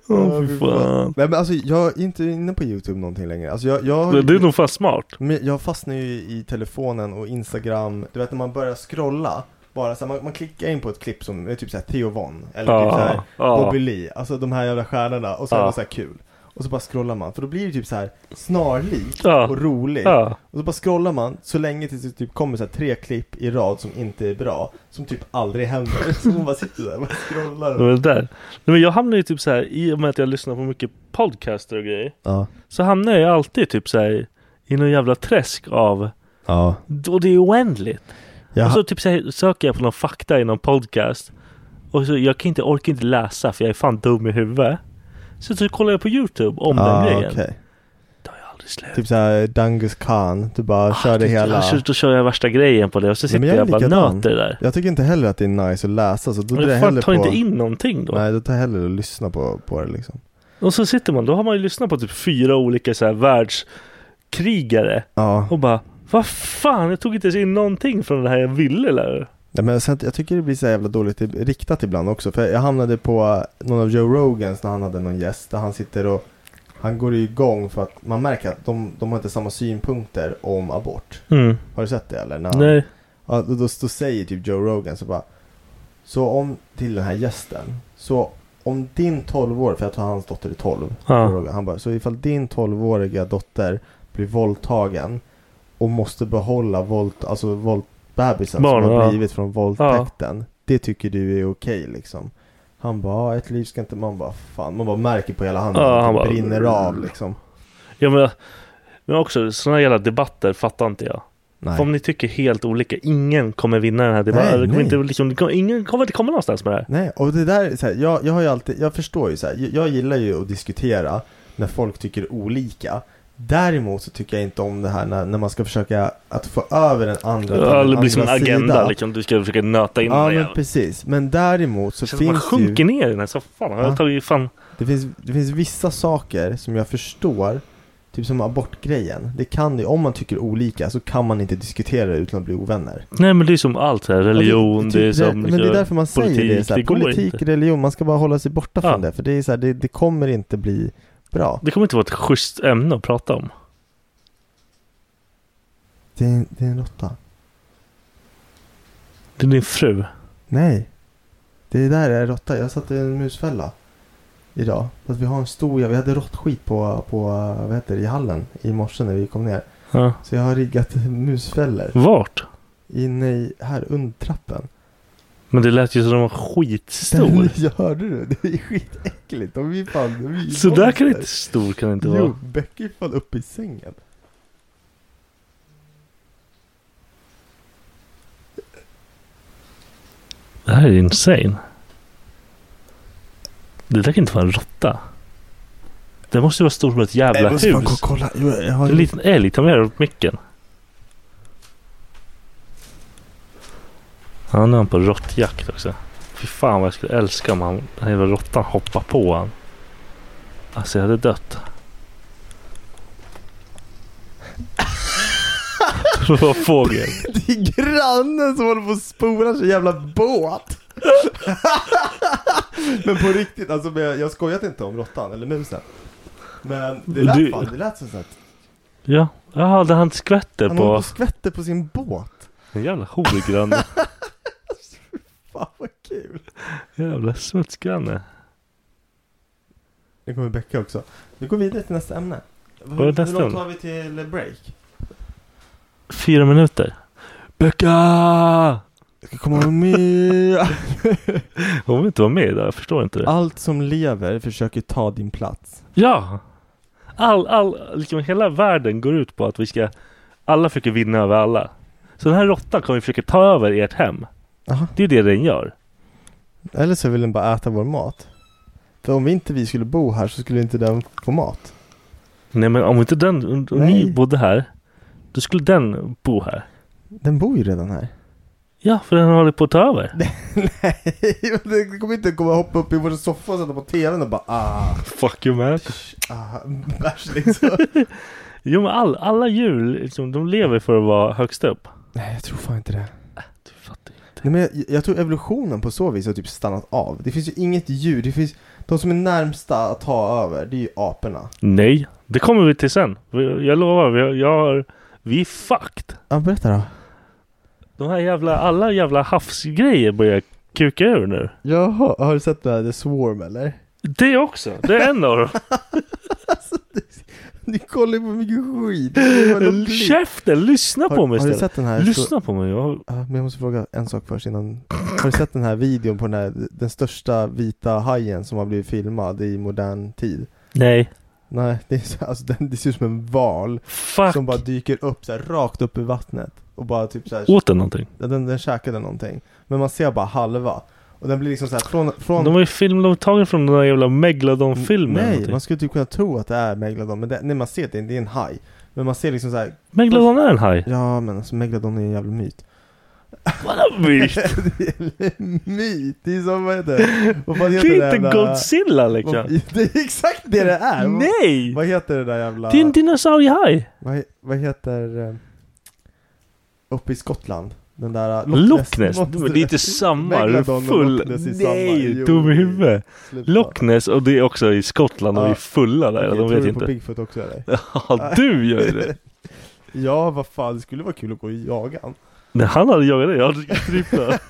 E: Ja,
B: fy
E: fy
B: fan.
E: Nej men alltså jag är inte inne på youtube någonting längre Alltså jag, jag
B: Men Du är nog fan smart.
E: Men jag fastnar ju i telefonen och instagram Du vet när man börjar scrolla Bara så här, man, man klickar in på ett klipp som är typ såhär Theo Von Eller
B: Ja,
E: typ såhär
B: ja.
E: Bobby Lee Alltså de här jävla stjärnorna och så är
B: Ja.
E: det så här kul Och så bara scrollar man, för då blir det typ så här snarlikt
B: Ja.
E: och roligt.
B: Ja.
E: Och så bara scrollar man så länge tills det typ kommer så här tre klipp i rad som inte är bra, som typ aldrig händer. Så man bara sitter där och bara scrollar.
B: Det var det där. Nej, men jag hamnar ju typ så här i och med att jag lyssnar på mycket podcaster och grejer.
E: Ja.
B: Så hamnar jag ju alltid typ så här i någon jävla träsk av
E: Ja.
B: Och det är oändligt.
E: Jag
B: Och
E: ha-
B: så typ så här, söker jag på någon fakta i någon podcast. Och så jag kan inte, orkar inte läsa för jag är fan dum i huvudet. Så, så kollar jag på YouTube om
E: Ah,
B: den grejen.
E: okej. Typ såhär Dangus Khan, du bara kör det hela.
B: Så då kör Ah, typ, jag värsta grejen på det och så sitter
E: Men
B: jag,
E: är
B: och bara
E: likadan.
B: nöter det där.
E: Jag tycker inte heller att det är nice att läsa så då
B: Men
E: drar jag
B: fan,
E: hellre
B: ta
E: på...
B: inte in någonting då.
E: Nej, då tar jag hellre och lyssna på, på det liksom.
B: Och så sitter man, då har man ju lyssnat på typ fyra olika så här världskrigare. Och bara, vad fan, jag tog inte ens in någonting från det här jag ville lära
E: Nej, men sen, jag tycker det blir så jävla dåligt i- riktat ibland också. För jag hamnade på eh, någon av Joe Rogans när han hade någon gäst där han sitter och han går ju igång för att man märker att de, de har inte samma synpunkter om abort.
B: Mm.
E: Har du sett det eller? När han,
B: Nej.
E: Ja, då, då, då säger typ Joe Rogan så bara Så om, till den här gästen. Så om din 12-åriga, för jag tror hans dotter är 12.
B: Ja.
E: Joe Rogan, han bara, så ifall din 12-åriga dotter blir våldtagen och måste behålla våld, alltså våld, bebisen
B: Barn,
E: som har
B: ja.
E: blivit från våldtäkten. Det tycker du är okej liksom. Han bara, "Ja, ett liv ska inte, man bara fan, man bara märker på hela handen
B: Ja,
E: att
B: han
E: det
B: bara-
E: brinner av liksom.
B: Ja men, men också sådana jävla debatter fattar inte jag.
E: Nej.
B: För om ni tycker helt olika, ingen kommer vinna den här debatten.
E: Nej,
B: Det kommer
E: nej.
B: inte, liksom, det kommer, ingen kommer inte komma någonstans med det här.
E: Nej, och det där, är så här, jag, jag har ju alltid, jag förstår ju så här, jag, jag gillar ju att diskutera när folk tycker olika. Däremot så tycker jag inte om det här när, när man ska försöka att få över den andra till
B: Ja,
E: den
B: det blir som en
E: andra
B: agenda
E: sidan.
B: liksom. Du ska försöka nöta in den
E: Ja,
B: där
E: men
B: jäveln.
E: precis. Men däremot så
B: Känns som att man
E: finns det ju...
B: sjunker ner i den här soffan.
E: Ja.
B: Jag tar ju fan...
E: Det finns, det finns vissa saker som jag förstår, typ som abortgrejen. Det kan det, om man tycker olika så kan man inte diskutera det utan att bli ovänner.
B: Nej men det är som allt här. Religion,
E: Ja,
B: det, är som liksom-
E: Men det är därför man
B: politik.
E: säger det, så här,
B: det går
E: politik,
B: inte.
E: religion, man ska bara hålla sig borta från det. För det är så här, det, det kommer inte bli bra.
B: Det kommer inte vara ett schysst ämne att prata om.
E: Det är, det är en råtta.
B: Det är din fru.
E: Nej. Det där är råtta. Jag satte en musfälla. Idag. För att vi har en stor, vi hade råttskit på, på, vad heter det, i hallen i morse när vi kom ner.
B: Ja.
E: Så jag har riggat musfällor.
B: Vart?
E: Inne i, här under trappen.
B: Men det lät ju som den var skitstor.
E: Jag hörde det. Det är skitäckligt. De är fan, de är
B: Så där kan det inte, stor kan det inte
E: Jo,
B: vara.
E: Becky är fan uppe i sängen.
B: Det här är insane. Det där kan inte vara en råtta. Det måste ju vara stor som ett jävla
E: Jag måste fan gå
B: hus.
E: och kolla. Jo, jag har
B: En liten älg, ta med dig upp micken. Ja, nu är han på råttjakt också. Fy fan vad jag skulle älska om han, den här jävla råttan hoppar på han. Alltså jag hade dött. Det var fågel.
E: Det är grannen som håller på att spola sin jävla båt. Men på riktigt, alltså men jag jag skojat inte om råttan eller musen. Men det lät
B: Du-
E: fan, det lät som sagt.
B: Ja, ja det han skvätter
E: Han håller på
B: på.
E: och skvätter på sin båt.
B: En jävla horgranne.
E: Fan vad kul.
B: jävla smutsgranne.
E: Nu kommer Becka också. Vi går vidare till nästa ämne. Hur,
B: Vad är nästa
E: hur långt
B: ämne?
E: tar vi till break?
B: Fyra minuter. Becka!
E: Jag ska komma med.
B: Hon vill inte vara med idag, jag förstår inte det.
E: Allt som lever försöker ta din plats.
B: Ja! All, all, liksom hela världen går ut på att vi ska Alla försöker vinna över alla Så den här råttan kommer försöka ta över ert hem
E: Aha.
B: Det är det den gör
E: Eller så vill den bara äta vår mat. För om vi inte vi skulle bo här så skulle inte den få mat.
B: Nej men om inte den, om
E: Nej.
B: ni bodde här Då skulle den bo här
E: Den bor ju redan här.
B: Ja, för den håller på att ta över
E: Nej, men det kommer inte komma hoppa upp i vår soffa och sätta på tvn och bara ah,
B: Fuck you man
E: ah, bärs liksom.
B: Jo men all, alla djur, liksom, de lever för att vara högst upp
E: Nej, jag tror fan inte det.
B: Du fattar ju.
E: Nej, men jag, jag tror evolutionen på så vis har typ stannat av. Det finns ju inget djur, det finns de som är närmsta att ta över, det är ju aporna.
B: Nej, det kommer vi till sen Vi- Jag lovar, vi, har- jag har, vi är fucked
E: Ja, berätta då.
B: De här jävla, alla jävla havsgrejer börjar kuka ur nu
E: Jaha, har du sett det här The Swarm eller?
B: Det också. Det är en av dem.
E: Ni kollar ju på mycket skit.
B: Håll Käften! Lyssna
E: Har-
B: på mig
E: har du
B: istället.
E: sett den här-
B: Lyssna på mig. Jag...
E: Ja, men jag måste fråga en sak först innan. Har du sett den här videon på den, här, den största vita hajen som har blivit filmad i modern tid?
B: Nej.
E: Nej, det, är, så- alltså, den, det ser ut som en val
B: Fuck.
E: som bara dyker upp så här, rakt upp i vattnet. Och bara typ så här,
B: Åt den någonting?
E: Ja, den, den käkade någonting. Men man ser bara halva. Och den blir liksom så här från... från
B: De var ju film, de var tagen från den där jävla Megalodon-filmen. eller
E: Nej,
B: någonting.
E: man skulle typ kunna tro att det är Megalodon. Men det, nej, man ser att det, det är en haj. Men man ser liksom så här...
B: Megalodon är en haj.
E: Ja, men alltså Megalodon är en jävla myt.
B: Vadå myt?
E: Det är en myt! Det är som, vad heter det? Vad fan
B: Det
E: heter
B: är
E: det
B: inte
E: jävla-
B: Godzilla liksom.
E: Vad- Det är exakt det det är! Vad-
B: Nej!
E: Vad heter det där jävla...
B: Det är en dinosauriehaj.
E: Vad, he- vad heter... eh, Uppe i Skottland? Den där... eh,
B: Loch Ness.
E: monstret.
B: Det är inte samma. Du
E: Megalodon
B: är
E: och
B: full.
E: Loch Ness är samma.
B: Nej,
E: Jo,
B: dum i huvudet.
E: sluta.
B: Loch Ness och det är också i Skottland. De
E: Ja.
B: är fulla där. De
E: Okej, tror
B: vet
E: du på
B: inte.
E: Bigfoot också eller?
B: Ja, du gör ju det.
E: Ja, vad fan, det skulle vara kul att gå och jaga han.
B: Nej, han hade jagat dig. Jag hade strypt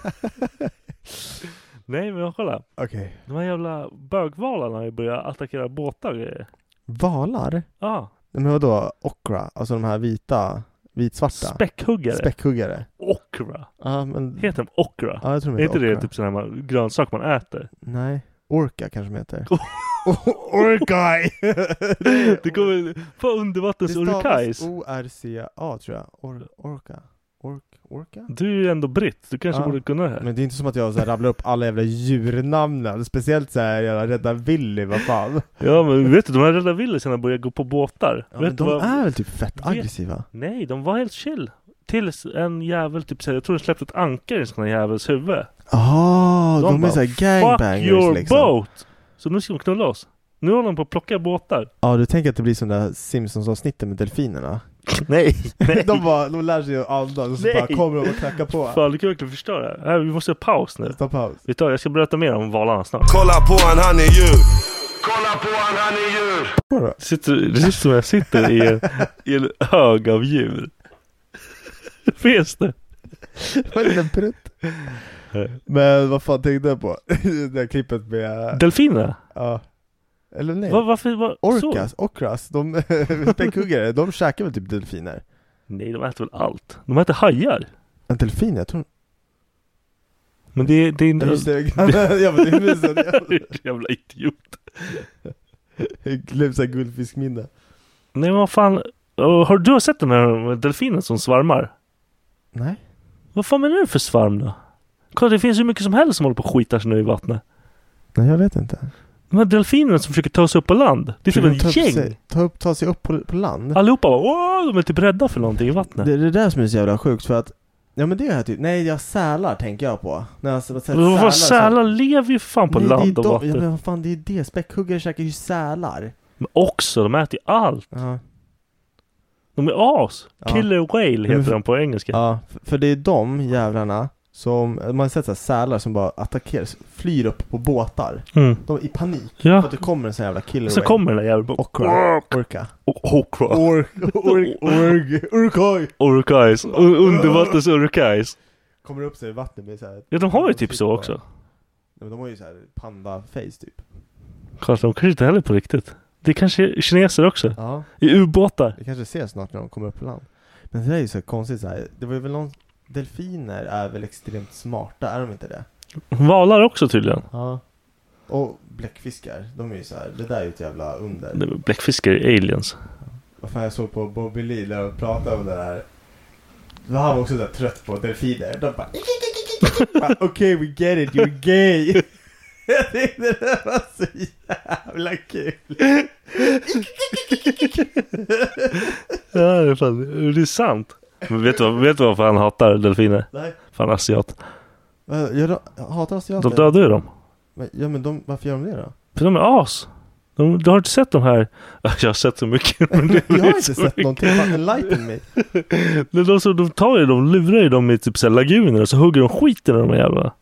B: Nej, men kolla.
E: Okej.
B: De här jävla bögvalarna har ju börjat attackera båtar och grejer. Ah,
E: Valar?
B: Ja,
E: Nej, Men vadå, okra? Alltså de här vita, vitsvarta?
B: späckhuggare.
E: Späckhuggare?
B: Okra.
E: Ja, men...
B: Heter de okra?
E: Ja, jag tror
B: Är
E: de
B: inte
E: heter
B: det
E: okra.
B: typ sån här man- grönsak man äter?
E: Nej. Orka kanske de heter.
B: Oh.
E: Orkai!
B: Det kommer på undervattens orkais.
E: O-R-C-A tror jag. Or- orka. Ork- orka?
B: Du är ju ändå britt. Du kanske
E: Ja.
B: borde kunna det här.
E: Men det är inte som att jag så här rabblar upp alla jävla djurnamnen. Speciellt såhär jävla Rädda Willy, vad fan.
B: Ja, men vet du, de här rädda villisarna börjar gå på båtar.
E: Ja,
B: vet
E: men
B: du
E: de
B: vad?
E: är väl typ fett
B: Vet-
E: aggressiva?
B: Nej, de var helt chill. Tills en jävel typ säger, jag tror den släppte ett ankare i en sån här jävels huvud.
E: Ah, de, är
B: bara,
E: såhär gangbangers
B: Fuck your
E: liksom.
B: boat! Så nu ska de knulla oss. Nu håller de på att plocka båtar.
E: Ja, du tänker att det blir som det där Simpsons-avsnittet med delfinerna?
B: Nej,
E: De, bara, de lär sig att andas och så
B: Nej.
E: bara kommer de och knackar på.
B: Fan, du kan verkligen förstöra. det här. Äh, Vi måste ha paus nu.
E: Stopp paus.
B: Vet du, vad, jag ska berätta mer om valarna snart.
D: Kolla på han, han är djur. Kolla på han, han är djur.
B: Det sitter- det ser ut som jag sitter i en, i en hög av djur. Finns det?
E: Vad är det där prutt? Men vad fan tänkte jag på? det där klippet med...
B: Delfinerna?
E: Ja. Eller nej.
B: Va, varför? Va,
E: Orcas,
B: Så?
E: okras, de späckhuggare, de käkar väl typ delfiner?
B: Nej, de äter väl allt. De äter hajar.
E: En delfin, jag tror...
B: Men det, det är
E: Ja, just
B: inte...
E: det. Ja, men det minns jag.
B: Jävla idiot.
E: Jag glömde såhär guldfiskminne.
B: Nej men vad fan. Ö, Har du sett den här delfinen som svarmar?
E: Nej.
B: Vad fan menar du för svarm då? Kolla det finns ju mycket som helst som håller på och skitar sig nu i vattnet.
E: Nej, jag vet inte.
B: De här delfinerna som försöker ta sig upp på land. Det är typ
E: Hur de tar
B: en
E: upp
B: gäng.
E: sig- Ta, upp, ta sig upp på, på land?
B: Allihopa bara "Åh", de är typ rädda för någonting i vattnet.
E: Det är det där som är så jävla sjukt för att Ja men det är typ, nej jag sälar tänker jag på. När jag sett
B: Men vad fan,
E: så-
B: sälar lever ju för fan på
E: Nej, det är
B: land och
E: de-
B: vatten.
E: Ja men vad fan det är det, späckhuggare käkar ju sälar.
B: Men också, de äter ju allt.
E: Ja.
B: De är as.
E: Ja.
B: Killer whale
E: men
B: heter
E: för-
B: den på engelska.
E: Ja, f- för det är de jävlarna som, man har sett så här sälar som bara attackeras, flyr upp på båtar.
B: Mm.
E: De är i panik för
B: ja.
E: att det kommer en sån jävla killer
B: Så
E: whale.
B: kommer den där jäveln och
E: Orca. Orca.
B: Orca.
E: Ork, ork, ork, orkoj!
B: Orcais. Un- Undervattens orcais.
E: Kommer upp sig i vattnet med såhär...
B: Ja de har ju typ så också.
E: Nej men de har ju såhär panda-face typ.
B: Kanske de kanske inte heller på riktigt. Det kanske är kineser också.
E: Ja.
B: I ubåtar.
E: Vi kanske ser snart när de kommer upp på land. Men det där är ju så konstigt så här. Det var ju väl någon... Delfiner är väl extremt smarta, är de inte det?
B: Valar också tydligen.
E: Ja. Och bläckfiskar, de är ju så här. det där är ju ett jävla under.
B: Nej, men Bläckfiskar är aliens.
E: Vad fan jag såg på Bobby Lee när de pratade om det där. Då var han också så här trött på delfiner. De bara... bara, Okej, we get it, you're gay. Jag tyckte det där var så jävla kul.
B: Ja det är fan, det är sant. Men vet du, vad- vet du varför han hatar delfiner?
E: Nej.
B: Fan asiat.
E: Vad- Jag då- jag hatar
B: De
E: asiater.
B: dödar ju dem.
E: Men- Ja men de, varför gör de det då?
B: För de är as. De, du har inte sett de här? Jag har sett så mycket. Men det
E: Jag
B: är
E: har inte
B: så
E: sett
B: mycket.
E: någonting, fan enlighten me.
B: Men de, som de tar ju, de lurar ju dem i typ såhär laguner och så hugger de skiten i de här jävla.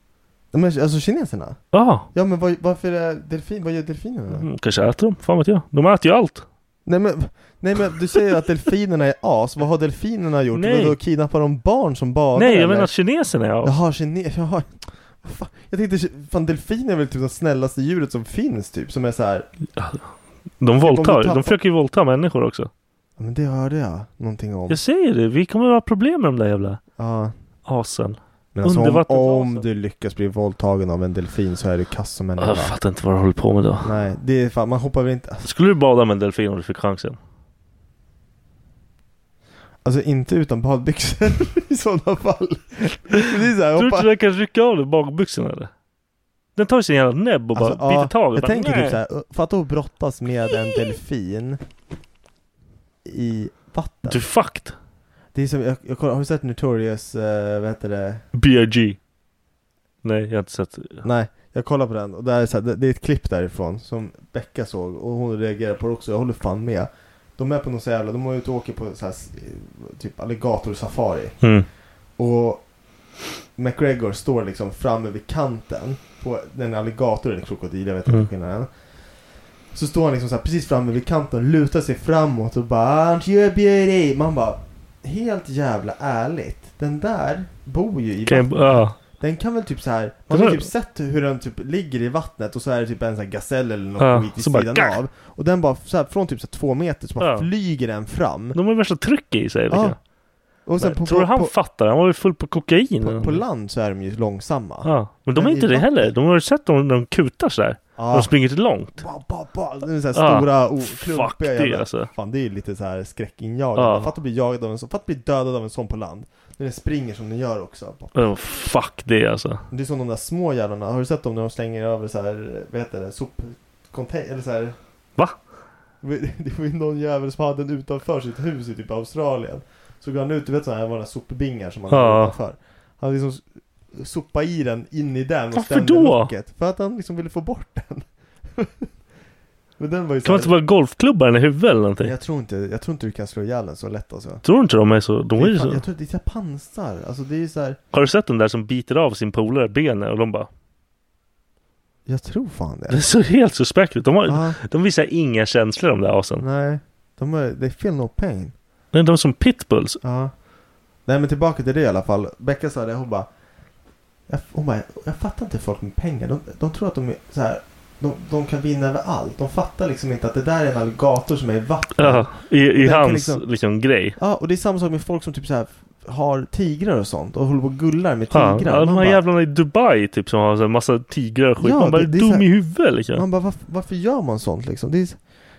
E: Men alltså kineserna?
B: Ja,
E: Ja men vad, varför är delfin, vad gör delfinerna då?
B: mm, kanske äter de. Fan vet jag. De äter ju allt.
E: Nej men, nej men du säger att delfinerna är as, vad har delfinerna gjort?
B: Nej.
E: Vadå, kidnappar de barn som badar
B: Nej jag
E: eller? e-
B: menar att kineserna är as.
E: Jaha, kines, jaha. Fan, jag tänkte, fan delfiner är väl typ det snällaste djuret som finns typ, som är så här.
B: De
E: Om
B: våldtar.
E: du tappar-
B: De försöker ju våldta människor också.
E: Ja, men det hörde jag någonting om.
B: Jag säger det, vi kommer ha problem med de där jävla
E: Ja.
B: asen.
E: Men alltså, om,
B: Undervattens-
E: om du lyckas bli våldtagen av en delfin så är du kass som människa.
B: Jag fattar inte vad du håller på med då.
E: Nej, det är fan, man hoppar väl inte...
B: Skulle du bada med en delfin om du fick chansen?
E: Alltså inte utan badbyxor i sådana fall. Men det är så här,
B: Tror du inte
E: hoppa...
B: den kan rycka av dig bakbyxorna eller? Den tar ju sin jävla näbb och bara
E: Alltså, ja,
B: biter tag. och
E: Jag
B: bara,
E: tänker typ
B: "Nej."
E: så här, fatta att brottas med en delfin i vatten.
B: Du är fucked.
E: Det är som, jag, jag, kollar- har du sett Notorious, eh, vad heter det?
B: B.I.G. Nej, jag har inte sett.
E: Nej, jag kollar på den och där är så här, det, det är ett klipp därifrån som Becka såg och hon reagerar på det också, jag håller fan med. De är på någon så jävla, de var ute och åker på så här, s- typ alligatorsafari.
B: Mm.
E: Och McGregor står liksom framme vid kanten på den alligator eller krokodil, jag vet inte
B: Mm.
E: skillnaden. Så står han liksom så här precis framme vid kanten och lutar sig framåt och bara Aren't you a beauty? Man bara Helt jävla ärligt. Den där bor ju i
B: Kan jag, ja.
E: den kan väl typ så här.
B: Den
E: Man har
B: har-
E: ju typ sett hur den typ ligger i vattnet och så är det typ en sån här gasell eller något
B: Ja,
E: skit i
B: så bara,
E: sidan
B: "Gah!"
E: av. Och den bara så här, från typ så här två meter så bara
B: Ja.
E: flyger den fram.
B: De har ju värsta tryck i sig. liksom.
E: Ja. Och sen
B: Men
E: på,
B: Tror du han
E: på,
B: fattar? Han var ju full på kokain.
E: på, på land så är de ju långsamma.
B: Ja. Men de är
E: Men
B: inte
E: i
B: det
E: vatten.
B: heller. De har ju sett dem när de kutar sådär.
E: Ja.
B: De springer inte långt.
E: Ah, Ba, ba, ba. Det är så här
B: Ja.
E: stora, o,
B: Ah, Fuck
E: klumpiga
B: det,
E: jävla-
B: alltså. Ah.
E: Fan det är ju lite så här skräckinjagande.
B: Ja.
E: Fatta att bli jagad av en sån, fatta att bli dödad av en sån på land. När den springer som den gör också. Bara,
B: Oh, fuck det alltså.
E: Det är som de där små jävlarna, har du sett dem när de slänger över så här, vad heter det, sopcontainer, eller så här.
B: Va?
E: Det var ju någon jävel som hade den utanför sitt hus i typ Australien. Så går han ut, du vet sådana här vanliga sopbingar som man
B: Ja.
E: har utanför. Han liksom s- sopade i den in i den och
B: Varför
E: stämde
B: då?
E: locket. För att han liksom ville få bort den. Men den var ju
B: Kan man
E: så
B: inte
E: här,
B: bara golfklubba den i huvudet eller någonting?
E: jag tror inte, jag tror inte du kan slå ihjäl den så lätt alltså.
B: Tror du inte de är så?
E: Det
B: De är
E: är,
B: ju
E: fan,
B: så.
E: jag tror det är så här pansar, alltså det är ju så här.
B: Har du sett den där som biter av sin polare benet och de bara
E: Jag tror fan
B: Det
E: det.
B: ser helt suspekt ut. De, har,
E: Ja.
B: de visar inga känslor de där asen.
E: Nej, de är, they feel no pain.
B: Nej, De är som pitbulls.
E: Ja. Nej men tillbaka till det i alla fall. Becka sa det, hon bara. Jag, hon bara, jag fattar inte folk med pengar. De, de tror att de är så här. De, de kan vinna över allt. De fattar liksom inte att det där är en alligator som är i vatten.
B: Ja, I, i
E: Den kan
B: hans liksom...
E: liksom-
B: grej.
E: Ja, och det är samma sak med folk som typ så här har tigrar och sånt och håller på och gullar med
B: Ja,
E: tigrar.
B: ja,
E: man,
B: de här
E: bara,
B: jävlarna i Dubai typ som har så här massa tigrar och skit.
E: Ja,
B: Man bara är
E: det- det är så
B: dum
E: här-
B: i huvudet liksom.
E: man bara varför, varför gör man sånt liksom? Det är,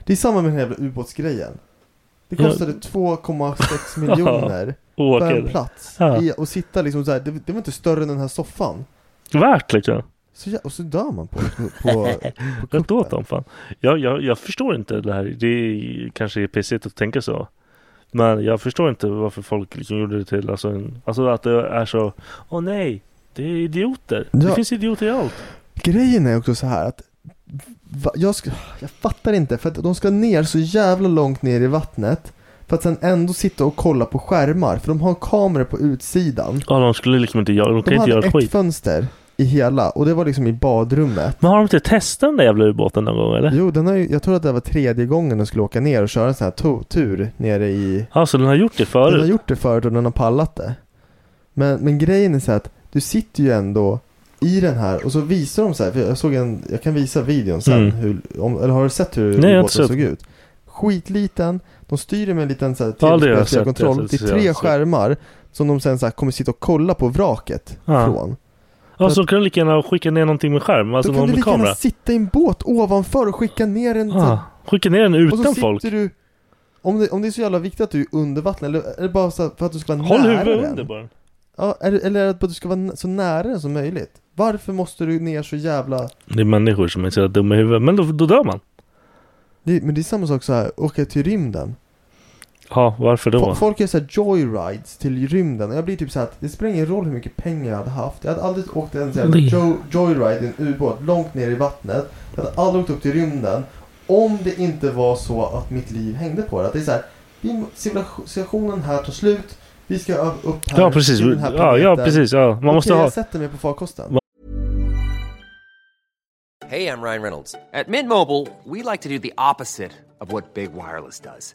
E: det är samma med den här jävla ubåtsgrejen. Det
B: Ja.
E: kostade 2,6 miljoner
B: Åker.
E: för en plats.
B: Ja.
E: I, och sitta liksom så här, det, det var inte större än den här soffan.
B: Värt liksom.
E: Så, jä- och så dör man på, på, på, på
B: Rätt
E: kuppen.
B: åt dem fan. Jag, jag, jag förstår inte det här. Det är, kanske är pissigt att tänka så. Men jag förstår inte varför folk liksom gjorde det till alltså, en, alltså att det är så Åh nej, det är idioter. Det
E: Ja.
B: finns idioter i allt.
E: Grejen är också så här att va, jag, ska, jag fattar inte för att de ska ner så jävla långt ner i vattnet för att sen ändå sitta och kolla på skärmar för de har kameror på utsidan.
B: Ja, de skulle liksom inte göra, de kan
E: De
B: inte
E: hade
B: göra
E: ett
B: skit.
E: fönster i hela och det var liksom i badrummet.
B: Men har de inte testat den där jävla ubåten någon gång eller?
E: Jo, den har ju, jag tror att det var tredje gången de skulle åka ner och köra en sån här to- tur nere i
B: Alltså den har gjort det förut?
E: Den har gjort det förut och den har pallat det. Men, men grejen är så här att du sitter ju ändå i den här och så visar de så här. För jag, såg en, jag kan visa videon sen.
B: Mm.
E: Hur, om, eller har du sett hur
B: Nej, jag har inte sett.
E: båten såg ut? Skitliten. De styr det med en liten så här
B: Ja, det har jag
E: tillspetsad
B: sett,
E: kontroll.
B: jag har
E: Det
B: sett,
E: är
B: jag har
E: tre
B: sett.
E: skärmar som de sen så här kommer sitta och kolla på vraket
B: Ja.
E: från.
B: Ja, så kan de lika gärna skicka ner någonting med skärm, alltså
E: Då kan
B: någon
E: du
B: med
E: lika gärna
B: kamera.
E: sitta i en båt ovanför och skicka ner en så här
B: Ja, skicka ner den
E: Och så
B: utan
E: sitter
B: folk.
E: du om det, om det är så jävla viktigt att du är under vattnet, eller är det bara så här för att du ska vara
B: Håll
E: nära
B: huvudet
E: den?
B: under bara.
E: Ja, är, det- eller är det bara att du ska vara n- så nära den som möjligt? Varför måste du ner så jävla...
B: Det är människor som är så jävla dumma i huvudet, men då, då dör man.
E: Det, men det är samma sak så här, åka till rymden.
B: Ja, varför då?
E: Fo- Folk gör så här joyrides till rymden. Och Jag blir typ så här att det spelar ingen roll hur mycket pengar jag hade haft. Jag hade aldrig åkt en så här
B: Nej.
E: jo, joyride i en ubåt långt ner i vattnet. Jag hade aldrig åkt upp till rymden. Om det inte var så att mitt liv hängde på det. Att det är så här, vi- civilisationen här tar slut. Vi ska ö- upp här
B: ja, precis.
E: till den här
B: Ja, ja,
E: planeten.
B: precis. Ja. Man
E: Okej,
B: måste ha...
E: jag sätter mig på farkosten.
F: Hey, I'm Ryan Reynolds. At Mint Mobile, we like to do the opposite of what Big Wireless does.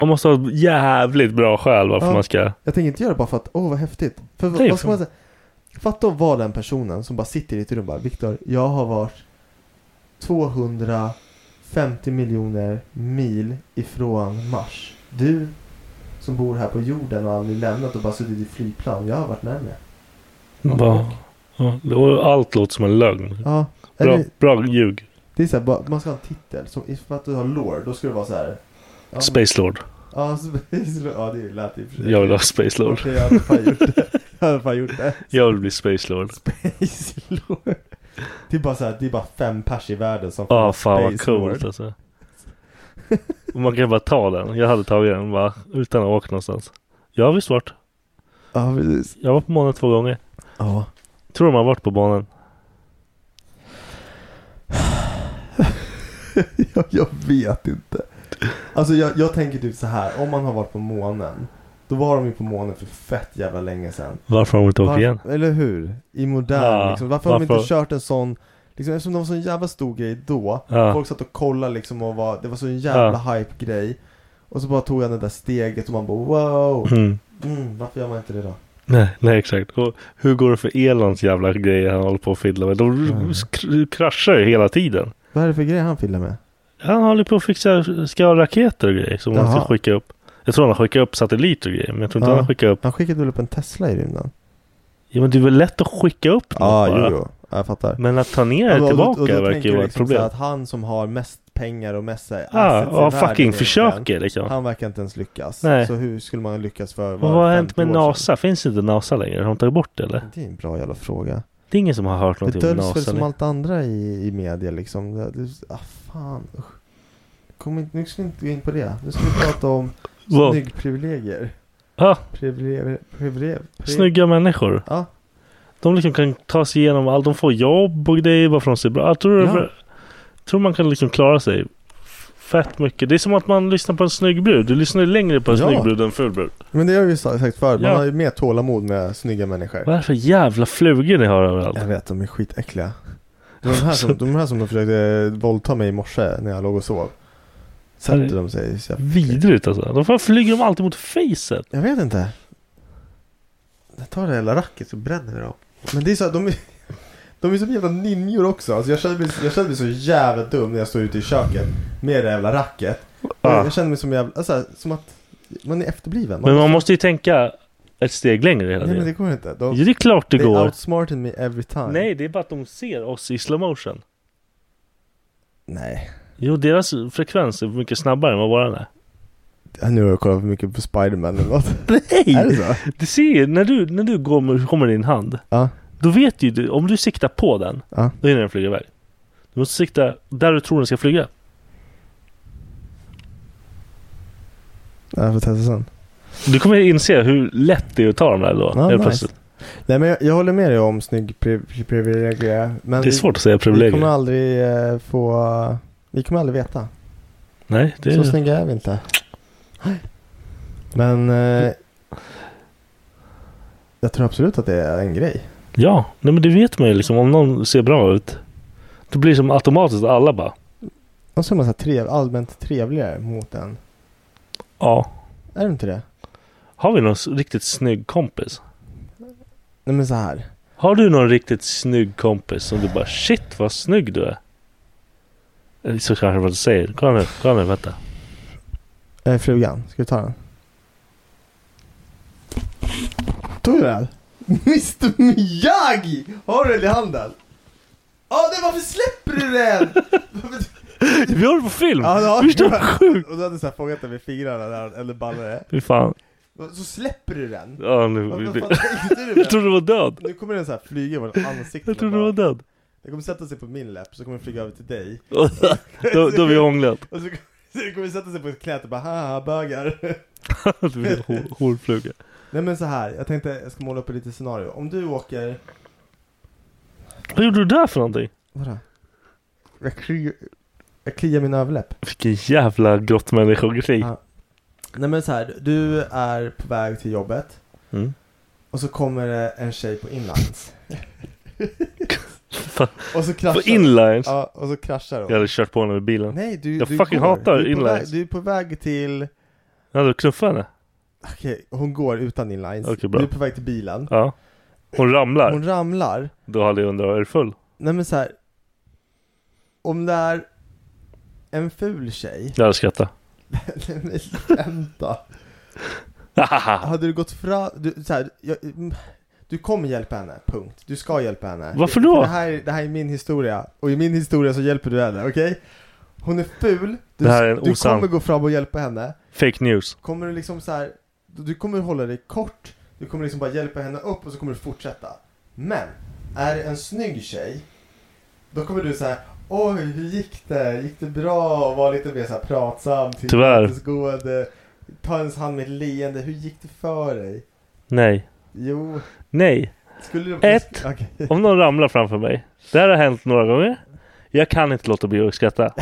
B: Man måste ha ett jävligt bra skäl varför
E: Ja.
B: man ska...
E: Jag tänker inte göra det bara för att, åh vad häftigt. För vad-
B: Nej,
E: vad ska
B: för-
E: man säga? Fatta att vara den personen som bara sitter i ett rum och bara, Viktor, jag har varit 250 miljoner mil ifrån Mars. Du som bor här på jorden och aldrig lämnat och bara suttit i flygplan, jag har varit närmare.
B: Bara, ja, det var- allt låter som en lögn.
E: Ja,
B: Bra,
E: eller-
B: bra ljug.
E: Det är så här, bara, man ska ha en titel. Som, för att du har lore, då ska det vara så här. Ja,
B: Space Lord.
E: Ja, Space Lord. Ja, det lät i och för sig.
B: Jag vill ha Space Lord.
E: Okej, jag hade fan gjort det. Jag hade fan gjort det.
B: Jag vill bli Space Lord.
E: Space Lord. Det är bara så här, det är bara fem pers i världen som
B: Ja,
E: vara
B: Ah, fan vad
E: Space
B: coolt
E: Lord.
B: alltså. Och Man kan bara ta den. Jag hade tagit den bara, utan att åka någonstans. Jag har visst varit.
E: Ja, precis.
B: Jag var på månen två gånger.
E: Ja.
B: Tror de har varit på månen?
E: jag, jag vet inte. Alltså jag, jag tänker typ så här, om man har varit på månen. Då var de ju på månen för fett jävla länge sedan.
B: Varför har de inte åkt
E: Varför-
B: igen?
E: Eller hur? I modern
B: Ja,
E: liksom. Varför, har de inte
B: varför-
E: kört en sån Liksom, eftersom det var en sån jävla stor grej då.
B: Ja.
E: Folk satt och kollade liksom och var, det var så en jävla hype-grej. Och så bara tog han det där steget och man bara wow.
B: Mm.
E: Mm, varför gör man inte det då?
B: Nej, nej exakt. Och hur går det för Elons jävla grejer han håller på att fiddla med? De
E: Mm.
B: sk- kraschar ju hela tiden.
E: Vad är det för grej han fiddlar med?
B: Han håller på att fixa ska ha raketer och grejer som han
E: Jaha.
B: ska skicka upp. Jag tror han har skickat upp satelliter och grejer, men jag tror inte
E: Ja.
B: han har skickat upp...
E: Han skickade väl upp en Tesla i rymden?
B: Ja, men det är väl lätt att skicka upp något
E: Ja, ah,
B: bara.
E: jo, jo. Jag fattar.
B: Men att ta ner det
E: Och då- och då- och
B: tillbaka
E: då tänker
B: verkar ju
E: jag
B: vara ett
E: liksom så
B: problem.
E: Att han som har mest pengar och mest så här,
B: Ja,
E: assets i
B: och han
E: världen
B: fucking
E: egentligen,
B: försöker, liksom.
E: Han verkar inte ens lyckas.
B: Nej.
E: Så hur skulle man lyckas för
B: Men vad har hänt med NASA? Finns inte NASA längre? Har de tagit bort det eller?
E: Det är en bra jävla fråga.
B: Det är ingen som har hört
E: Det
B: någonting om
E: döljs väl
B: NASA
E: som
B: längre.
E: allt andra i, i media liksom. Det, det, ah, fan. usch. Kom inte, nu ska vi inte gå in på det. Nu ska vi prata om
B: Vad?
E: snyggprivilegier.
B: Ja.
E: Privilegier. Privilegier.
B: Snygga människor.
E: Ja.
B: De liksom kan ta sig igenom allt. De får jobb och grejer bara för att de ser bra Jag tror,
E: Ja.
B: tror man kan liksom klara sig fett mycket. Det är som att man lyssnar på en snygg brud. Du lyssnar ju längre på en
E: Ja.
B: snygg brud än en ful brud.
E: Men det har vi ju sa- sagt förr. Man
B: Ja.
E: har ju mer tålamod med snygga människor.
B: Vad är det för jävla flugor ni har överallt?
E: Jag vet, de är skitäckliga. Det var De här som de, här som de försökte eh, våldta mig i morse när jag låg och sov. Sätter de sig så jag,
B: Vidrigt alltså. De fan flyger de alltid mot facet.
E: jag vet inte. Jag tar det hela racket så bränner jag dem. Men det är så här, de är... De är som jävla ninjor också. Alltså jag, känner mig, jag känner mig så jävla dum när jag står ute i köket med det jävla racket. Och Jag, jag känner mig som jävla, alltså, som att man är efterbliven.
B: Men man måste ju tänka ett steg längre hela
E: Nej men det
B: tiden.
E: går inte. De,
B: Jo, det är klart det
E: they
B: går.
E: outsmarted me every time.
B: Nej, det är bara att de ser oss i slow motion.
E: Nej.
B: Jo, deras frekvens är mycket snabbare än vad våran är.
E: Nu har jag kollat för mycket på Spiderman eller något.
B: Nej!
E: Är det så?
B: Du ser, när du, när du går med, kommer i din hand.
E: Ja.
B: Då vet ju du, om du siktar på den,
E: Ja.
B: då hinner den flyga iväg. Du måste sikta där du tror den ska flyga.
E: Ja, Jag får testa sen.
B: Du kommer inse hur lätt det är att ta dem där då.
E: Ja,
B: helt
E: nice.
B: plötsligt.
E: Nej men jag, jag håller med dig om snygg pri- pri- privilegier. Men
B: Det är svårt att säga
E: Vi, vi
B: privilegier.
E: kommer aldrig eh, få... Vi kommer aldrig veta.
B: Nej, det
E: Så
B: är...
E: snygga är vi inte. Men... Eh, jag tror absolut att det är en grej.
B: Ja, nej, men det vet man ju liksom. Om någon ser bra ut. Då blir det som automatiskt att alla bara,
E: Och så är man så här trev, allmänt trevligare mot en.
B: ja.
E: Är du inte det?
B: Har vi någon s- riktigt snygg kompis?
E: Nej men så här.
B: Har du någon riktigt snygg kompis som du bara shit vad snygg du är? Eller Så kanske vad du säger. Kolla nu, kolla nu, vänta.
E: Eh, frugan, ska du ta den? Tog du den?
G: Mr Miyagi! Har du den i handen? Ja, den, varför släpper du den?
B: Vi har det på film!
E: Ja, ja.
B: Förstår du? Sjukt!
E: Och du hade såhär fångat den med fingrarna där, eller ballare.
B: Fy fan.
G: Så släpper du den?
B: Ja, nu,
E: Varför fan tänkte du
B: det,
E: med?
B: jag trodde det var död.
E: Nu kommer den så här flyga över ditt ansikte.
B: Jag trodde det var död.
E: Den kommer sätta sig på min läpp, så kommer den flyga över till dig.
B: Då- då har vi ånglat.
E: Och så kommer- så kommer den sätta sig på knät och bara haha bögar.
B: Det blir en hår- Hårfluga.
E: Nej men så här, jag tänkte jag ska måla upp ett litet scenario. Om du åker...
B: Vad gjorde du där för någonting?
E: Vadå? Jag, kli... jag kliar min överläpp.
B: Vilken jävla grottmänniskogrej.
E: Ja. Nej men så här, du är på väg till jobbet.
B: Mm.
E: Och så kommer det en tjej på inlines.
B: Fan.
E: Och så kraschar
B: På inlines?
E: Alltså- Ja, och så kraschar hon.
B: Jag hade kört på henne med bilen.
E: Nej, du,
B: jag
E: du
B: fucking
E: går.
B: hatar
E: du är på väg-
B: inlines.
E: Du är på väg till...
B: Jag hade knuffat henne.
E: Okej, hon går utan inlines.
B: Okej, bra.
E: Du är på väg till bilen.
B: Ja. Hon ramlar.
E: Hon ramlar.
B: Då hade jag undrat, är du full?
E: Nej men så här. Om det är en ful tjej.
B: Jag hade skrattat.
E: Nej men skämta. Hade du gått fram, du, så här, jag, mm, du kommer hjälpa henne, punkt. Du ska hjälpa henne.
B: Varför då?
E: För Det här, det här är min historia, och i min historia så hjälper du henne, okej? Hon är ful, du,
B: Det här är en
E: du
B: osann-
E: kommer gå fram och hjälpa henne.
B: Fake news.
E: Kommer du liksom så här, du du kommer hålla dig kort, du kommer liksom bara hjälpa henne upp och så kommer du fortsätta. Men, är det en snygg tjej, då kommer du så här, oj hur gick det? Gick det bra? Och vara lite mer så här pratsam,
B: Tyvärr.
E: tillmötesgående. Ta ens hand med ett leende, hur gick det för dig?
B: Nej.
E: Jo.
B: Nej.
E: Skulle de-
B: Ett.
E: Okej.
B: Om någon ramlar framför mig. Det här har hänt några gånger. Jag kan inte låta bli att skratta.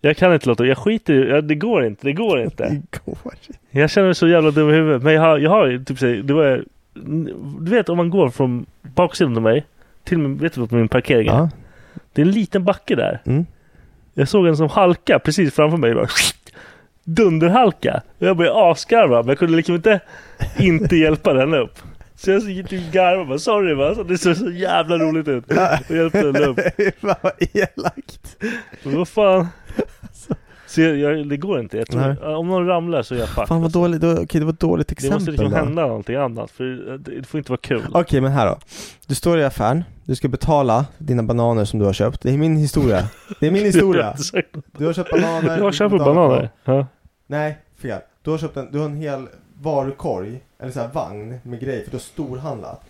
B: Jag kan inte låta Jag skiter i- ja, Det går inte. Det går inte.
E: Det går
B: Jag känner mig så jävla dum i huvudet. Men jag har, jag har ju typ så här- det var, Du vet om man går från baksidan av mig till min, vet du vad min parkering är? Det är en liten backe där.
E: Mm.
B: Jag såg en som halka precis framför mig. Bara, dunderhalka. Och jag började asgarva men jag kunde liksom inte, inte hjälpa den upp. Så jag gick till garva och bara sorry va, så det såg så jävla roligt ut. Och hjälpte den upp.
E: Fan vad elakt.
B: Men vad fan. Så jag, jag, det går inte. Jag
E: Nej.
B: tror, om någon ramlar så är jag fucked.
E: Fan vad dåligt, okej det var ett dåligt
B: Det måste
E: exempel
B: liksom
E: då.
B: hända någonting annat. För det, det får inte vara kul.
E: Okej men här då. Du står i affären, du ska betala dina bananer som du har köpt. Det är min historia. Det är min
B: Jag har
E: historia.
B: inte sagt något.
E: Du har köpt bananer.
B: Jag
E: du
B: köper
E: betalar
B: bananer.
E: för-
B: Ja.
E: Nej, fel. Du har köpt en, du har en hel varukorg, eller så här vagn med grejer för du har storhandlat.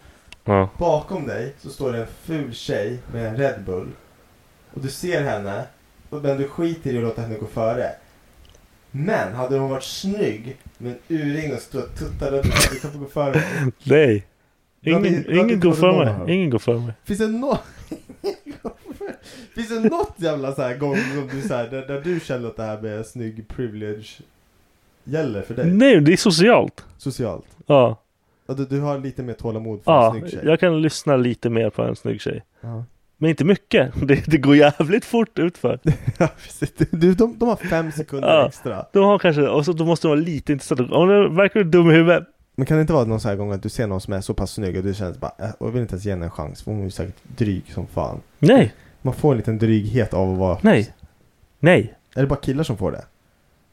B: Ja.
E: Bakom dig så står det en ful tjej med en Red Bull. Och du ser henne, och- men du skiter i att låta henne gå före. Men hade hon varit snygg med en urringning och stått och tuttat runt du kan få gå före mig.
B: Nej.
E: Du har
B: Ingen,
E: inte- du har
B: ingen
E: inte
B: går för
E: kommit någon
B: mig. Ingen går för mig.
E: Finns det nå... Finns det något jävla så här gång som du så här, där, där du känner att det här med snygg privilege gäller för dig?
B: Nej, det är socialt.
E: Socialt?
B: Ja.
E: Ja, Du, du har lite mer tålamod för en
B: Ja,
E: snygg tjej?
B: jag kan lyssna lite mer på en snygg tjej.
E: Ja.
B: Men inte mycket. Det, det går jävligt fort utför.
E: Du, de, de har fem sekunder
B: Ja.
E: extra.
B: De har kanske, och så då måste de vara lite intressanta. Om de verkar dum i huvudet.
E: Men kan det inte vara någon sån här gång att du ser någon som är så pass snygg och du känner bara, äh, jag vill inte ens ge henne en chans för hon är ju säkert dryg som fan.
B: Nej.
E: Man får en liten dryghet av att vara...
B: Nej. Nej.
E: Är det bara killar som får det?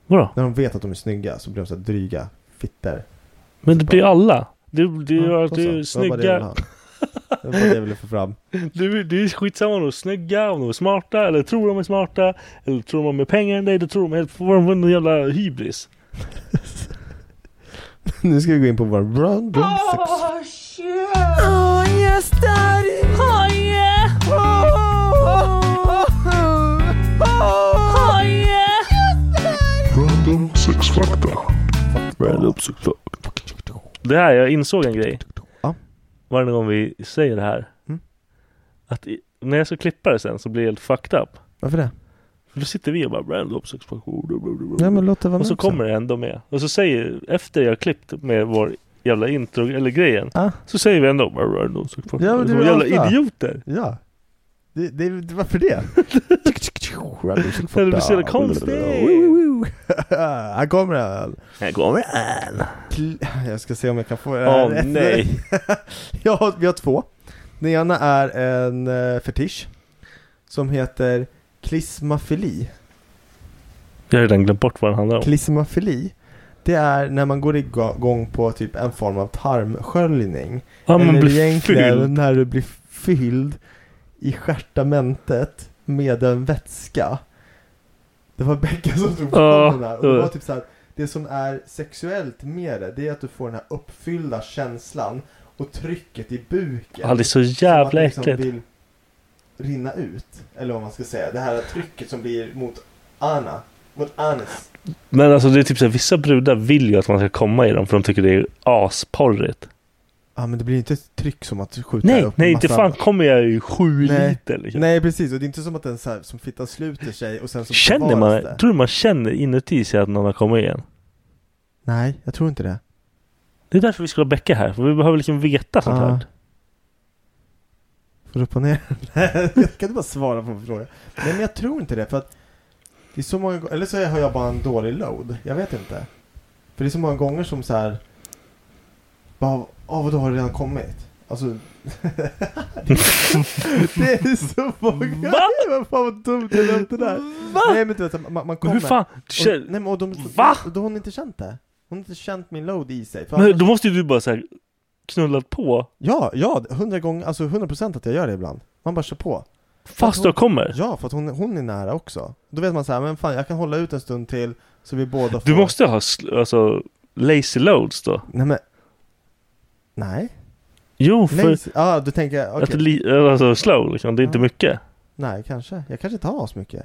B: Vadå?
E: När de vet att de är snygga så blir de så här dryga fitter.
B: Men det blir alla. Du, du,
E: Ja,
B: ja,
E: då så.
B: du är
E: Det var bara det jag
B: snygga.
E: ville ha. Det var bara det jag ville få fram.
B: Du, du är skitsamma om de är snygga, om de är smarta, eller tror de är smarta, eller tror de har mer pengar än dig, då tror de helt, får de en jävla hybris.
E: Nu ska vi gå in på vår run, run
B: Ah!
E: sex.
D: Oh shit! Oh yes, daddy! Oh yeah! Oh, oh, oh, oh. oh yeah!
B: Random sexfakta. Random sexfakta. Det här, jag insåg en grej.
E: Ja.
B: Varje gång vi säger det här.
E: Mm.
B: Att i, när jag ska klippa det sen så blir det helt fucked up.
E: Varför det?
B: För då sitter vi och bara random sexfakta.
E: Ja men låt det vara
B: Och så
E: med också.
B: kommer det ändå med. Och så säger, efter jag har klippt med vår jävla intro, eller grejen.
E: Ah.
B: Så säger vi ändå bara random sexfakta.
E: Ja, men det
B: Som
E: är
B: jävla
E: allt.
B: idioter.
E: Ja. Det, det, det, varför det?
B: Det blir så jävla konstigt.
E: Här kommer den.
B: Här kommer den.
E: Kl- Jag ska se om jag kan få
B: Åh,
E: rätt.
B: nej.
E: jag har, vi har två. Den ena är en eh, fetisch. Som heter klismafili.
B: Jag har redan glömt bort vad den handlar om.
E: Klismafili. Det är när man går igång på typ en form av tarmsköljning.
B: Ja, man
E: Eller
B: blir
E: egentligen
B: fylld.
E: när du blir fylld i stjärtamentet med en vätska. Det var Becka som tog
B: Ja,
E: fram den här. Och
B: det var
E: det var
B: det.
E: typ så här, det som är sexuellt med det, det är att du får den här uppfyllda känslan och trycket i buken.
B: Ja, det är så
E: Som
B: jävla
E: att det
B: äckligt.
E: vill rinna ut, eller vad man ska säga. Det här trycket som blir mot Anna, mot Anis.
B: Men alltså det är typ så här, vissa brudar vill ju att man ska komma i dem för de tycker det är asporrigt.
E: Ja men det blir inte ett tryck som att skjuta
B: Nej,
E: upp
B: nej
E: massa-
B: inte fan kommer jag i sju liter liksom.
E: Nej precis, och det är inte som att den så här, som fittan sluter sig och sen så
B: Känner
E: bevaras
B: man,
E: det.
B: tror du man känner inuti sig att någon har kommit igen?
E: Nej, jag tror inte det.
B: Det är därför vi skulle ha Becka här, för vi behöver liksom veta sånt
E: Ah.
B: här.
E: Får du upp och ner Nej, jag kan inte bara svara på frågan. Nej men jag tror inte det för att det är så många gånger, eller så har jag bara en dålig load. Jag vet inte. För det är så många gånger som så här. Bara, ah vadå har det redan kommit? Alltså. det, är, det är så många. Va? Vad fan vad dumt jag lät det där. Va? Nej men du vet, man, man kommer.
B: hur fan?
E: Och,
B: Känner-
E: nej, men, och de,
B: Va?
E: Då har hon inte känt det. Hon har inte känt min load i sig. För
B: Men
E: annars-
B: då måste ju du bara såhär knullat på.
E: Ja, ja, hundra gånger, alltså hundra procent att jag gör det ibland. Man bara kör på.
B: Fast
E: För att
B: jag kommer?
E: Ja, för att hon, hon är nära också. Då vet man så här, men fan jag kan hålla ut en stund till så vi båda får...
B: Du måste ha sl- alltså lazy loads då?
E: Nej men... Nej.
B: Jo, för
E: Nej, ja du tänker, okej.
B: att li- alltså slow liksom, det är inte mycket.
E: Nej, kanske. Jag kanske inte har så mycket.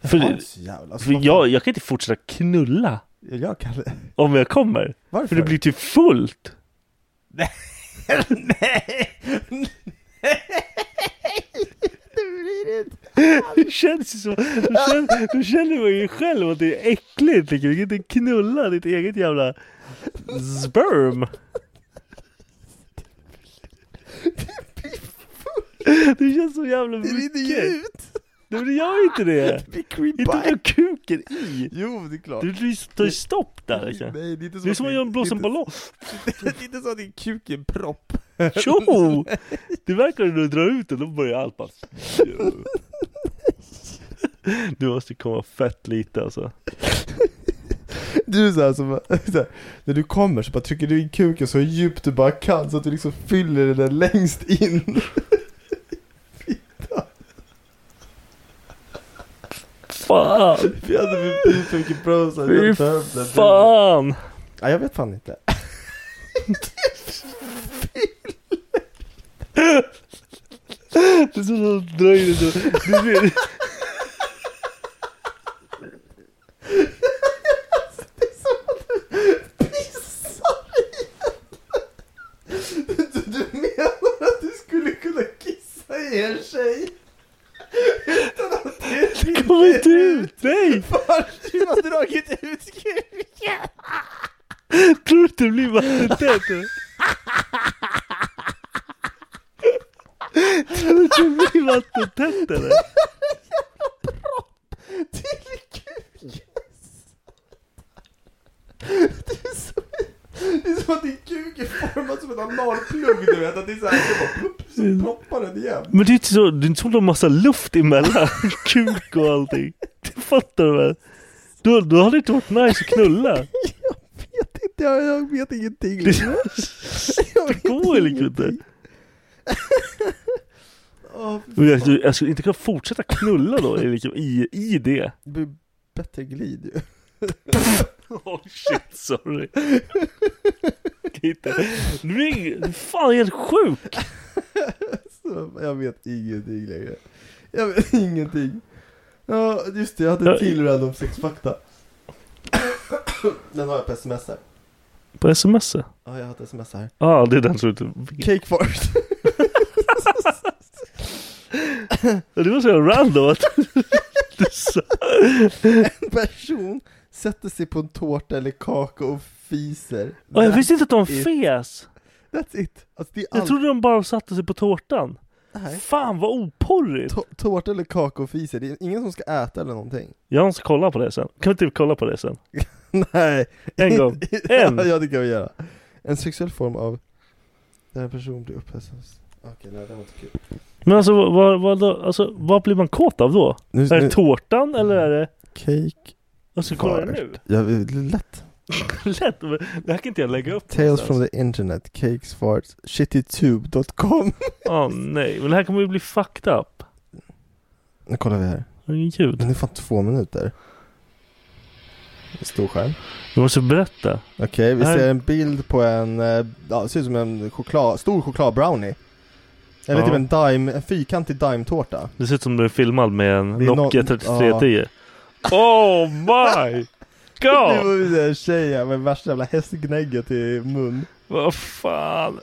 E: Jag
B: För,
E: har inte så jävla... Alltså,
B: för
E: vad fan-
B: jag, jag kan inte fortsätta knulla
E: Jag kan...
B: om jag kommer.
E: Varför?
B: För det blir typ fullt. Det känns ju så. Du känner, du känner man ju själv att det är äckligt. Liksom. Du kan inte knulla ditt eget jävla sperm. Det känns så jävla mycket. Det rinner
E: ut.
B: Nej men det gör ju inte det.
E: Det blir creepy.
B: Inte om du har kuken i.
E: Jo, det är klart.
B: Du lyser- tar ju stopp där liksom.
E: Nej, det är inte så
B: Det är
E: att
B: som
E: det-
B: att jag blåser en ballong.
E: det är inte så att din kuk är en propp.
B: Tjo! Det verkar när du drar ut den, då börjar allt bara... Du måste komma fett lite alltså.
E: Du är såhär som, såhär, när du kommer så bara trycker du in kuken så djupt du bara kan så att du liksom fyller den längst in.
B: Fan!
E: Vi hade med bifunk i prosa,
B: Fy
E: jag tar upp den.
B: fan!
E: Ja, jag vet fan inte.
B: Det är som att dra in det. Du ser...
D: Det är som att du pissar i
G: Du, du menar att du skulle kunna kissa i en tjej? Utan att det
B: Det kommer inte ut! Nej!
G: För du har dragit ut kuken!
B: Tror du inte det blir vattentätt? eller? Tror du inte det blir vattentätt eller?
G: Till kuken! Det är som, det är som att din kuk är formad som en analplugg du vet. Att det är såhär, det bara plupp,
E: Mm.
G: så ploppar den igen.
B: Men det är inte så, det är inte som att de har massa luft emellan kuk och allting. Det fattar du väl? Då, då hade det inte varit nice att knulla.
E: Titta, jag, jag vet ingenting.
B: Det, det går liksom inte.
E: Åh,
B: Men Jag, skulle- jag skulle inte kunna fortsätta knulla då i liksom, i, i det.
E: det blir bättre glid ju.
B: Oh shit, sorry. Titta. Nu blir jag ing- fan helt sjuk.
E: Så, Jag vet ingenting längre. Jag vet ingenting. Ja, just det, jag hade en till random sexfakta. Den har jag på sms här.
B: På sms? Ja,
E: Ja, jag har ett sms här.
B: ah, det är den som du inte
E: Cake fart.
B: Ja, Det var så random att du sa.
E: En person sätter sig på en tårta eller kaka och fiser.
B: Ja, jag visste inte att de
E: That's it.
B: fes.
E: That's it. Alltså, det är
B: Jag
E: allt.
B: trodde de bara satte sig på tårtan.
E: Nej.
B: Fan vad oporrigt.
E: Tå- Tårta eller kaka och fiser. Det är ingen som ska äta eller någonting.
B: Jag måste kolla på det sen. Kan vi typ kolla på det sen?
E: Nej.
B: En gång. En.
E: ja, det kan vi göra. En sexuell form av där en person blir upphetsad. Okej, nej det var inte kul.
B: Men alltså vad, vad, vad, då- alltså, vad blir man kåt av då?
E: Nu-
B: är det
E: nu-
B: tårtan eller är det...
E: Cake
B: Alltså kolla det nu.
E: Ja, lätt.
B: Lätt! men Det här kan inte jag lägga upp
E: Tales
B: någonstans.
E: from the internet, cakes, farts, shittytube.com
B: Åh nej, men det här kommer ju bli fucked up.
E: Nu kollar vi här.
B: Ljud.
E: Den är fan två minuter. Stor skärm.
B: Du måste berätta.
E: Okej, vi
B: Här-
E: ser en bild på en, eh, ja det ser ut som en choklad, stor chokladbrownie. Eller
B: Ja.
E: typ en dime, en fyrkantig dime-tårta.
B: Det ser ut som du är filmad med en
E: Det är nå-
B: Nokia 3310. Oh my
E: Det
B: god!
E: var ju en tjej här med värsta jävla hästgnägget i mun.
B: Vad fan.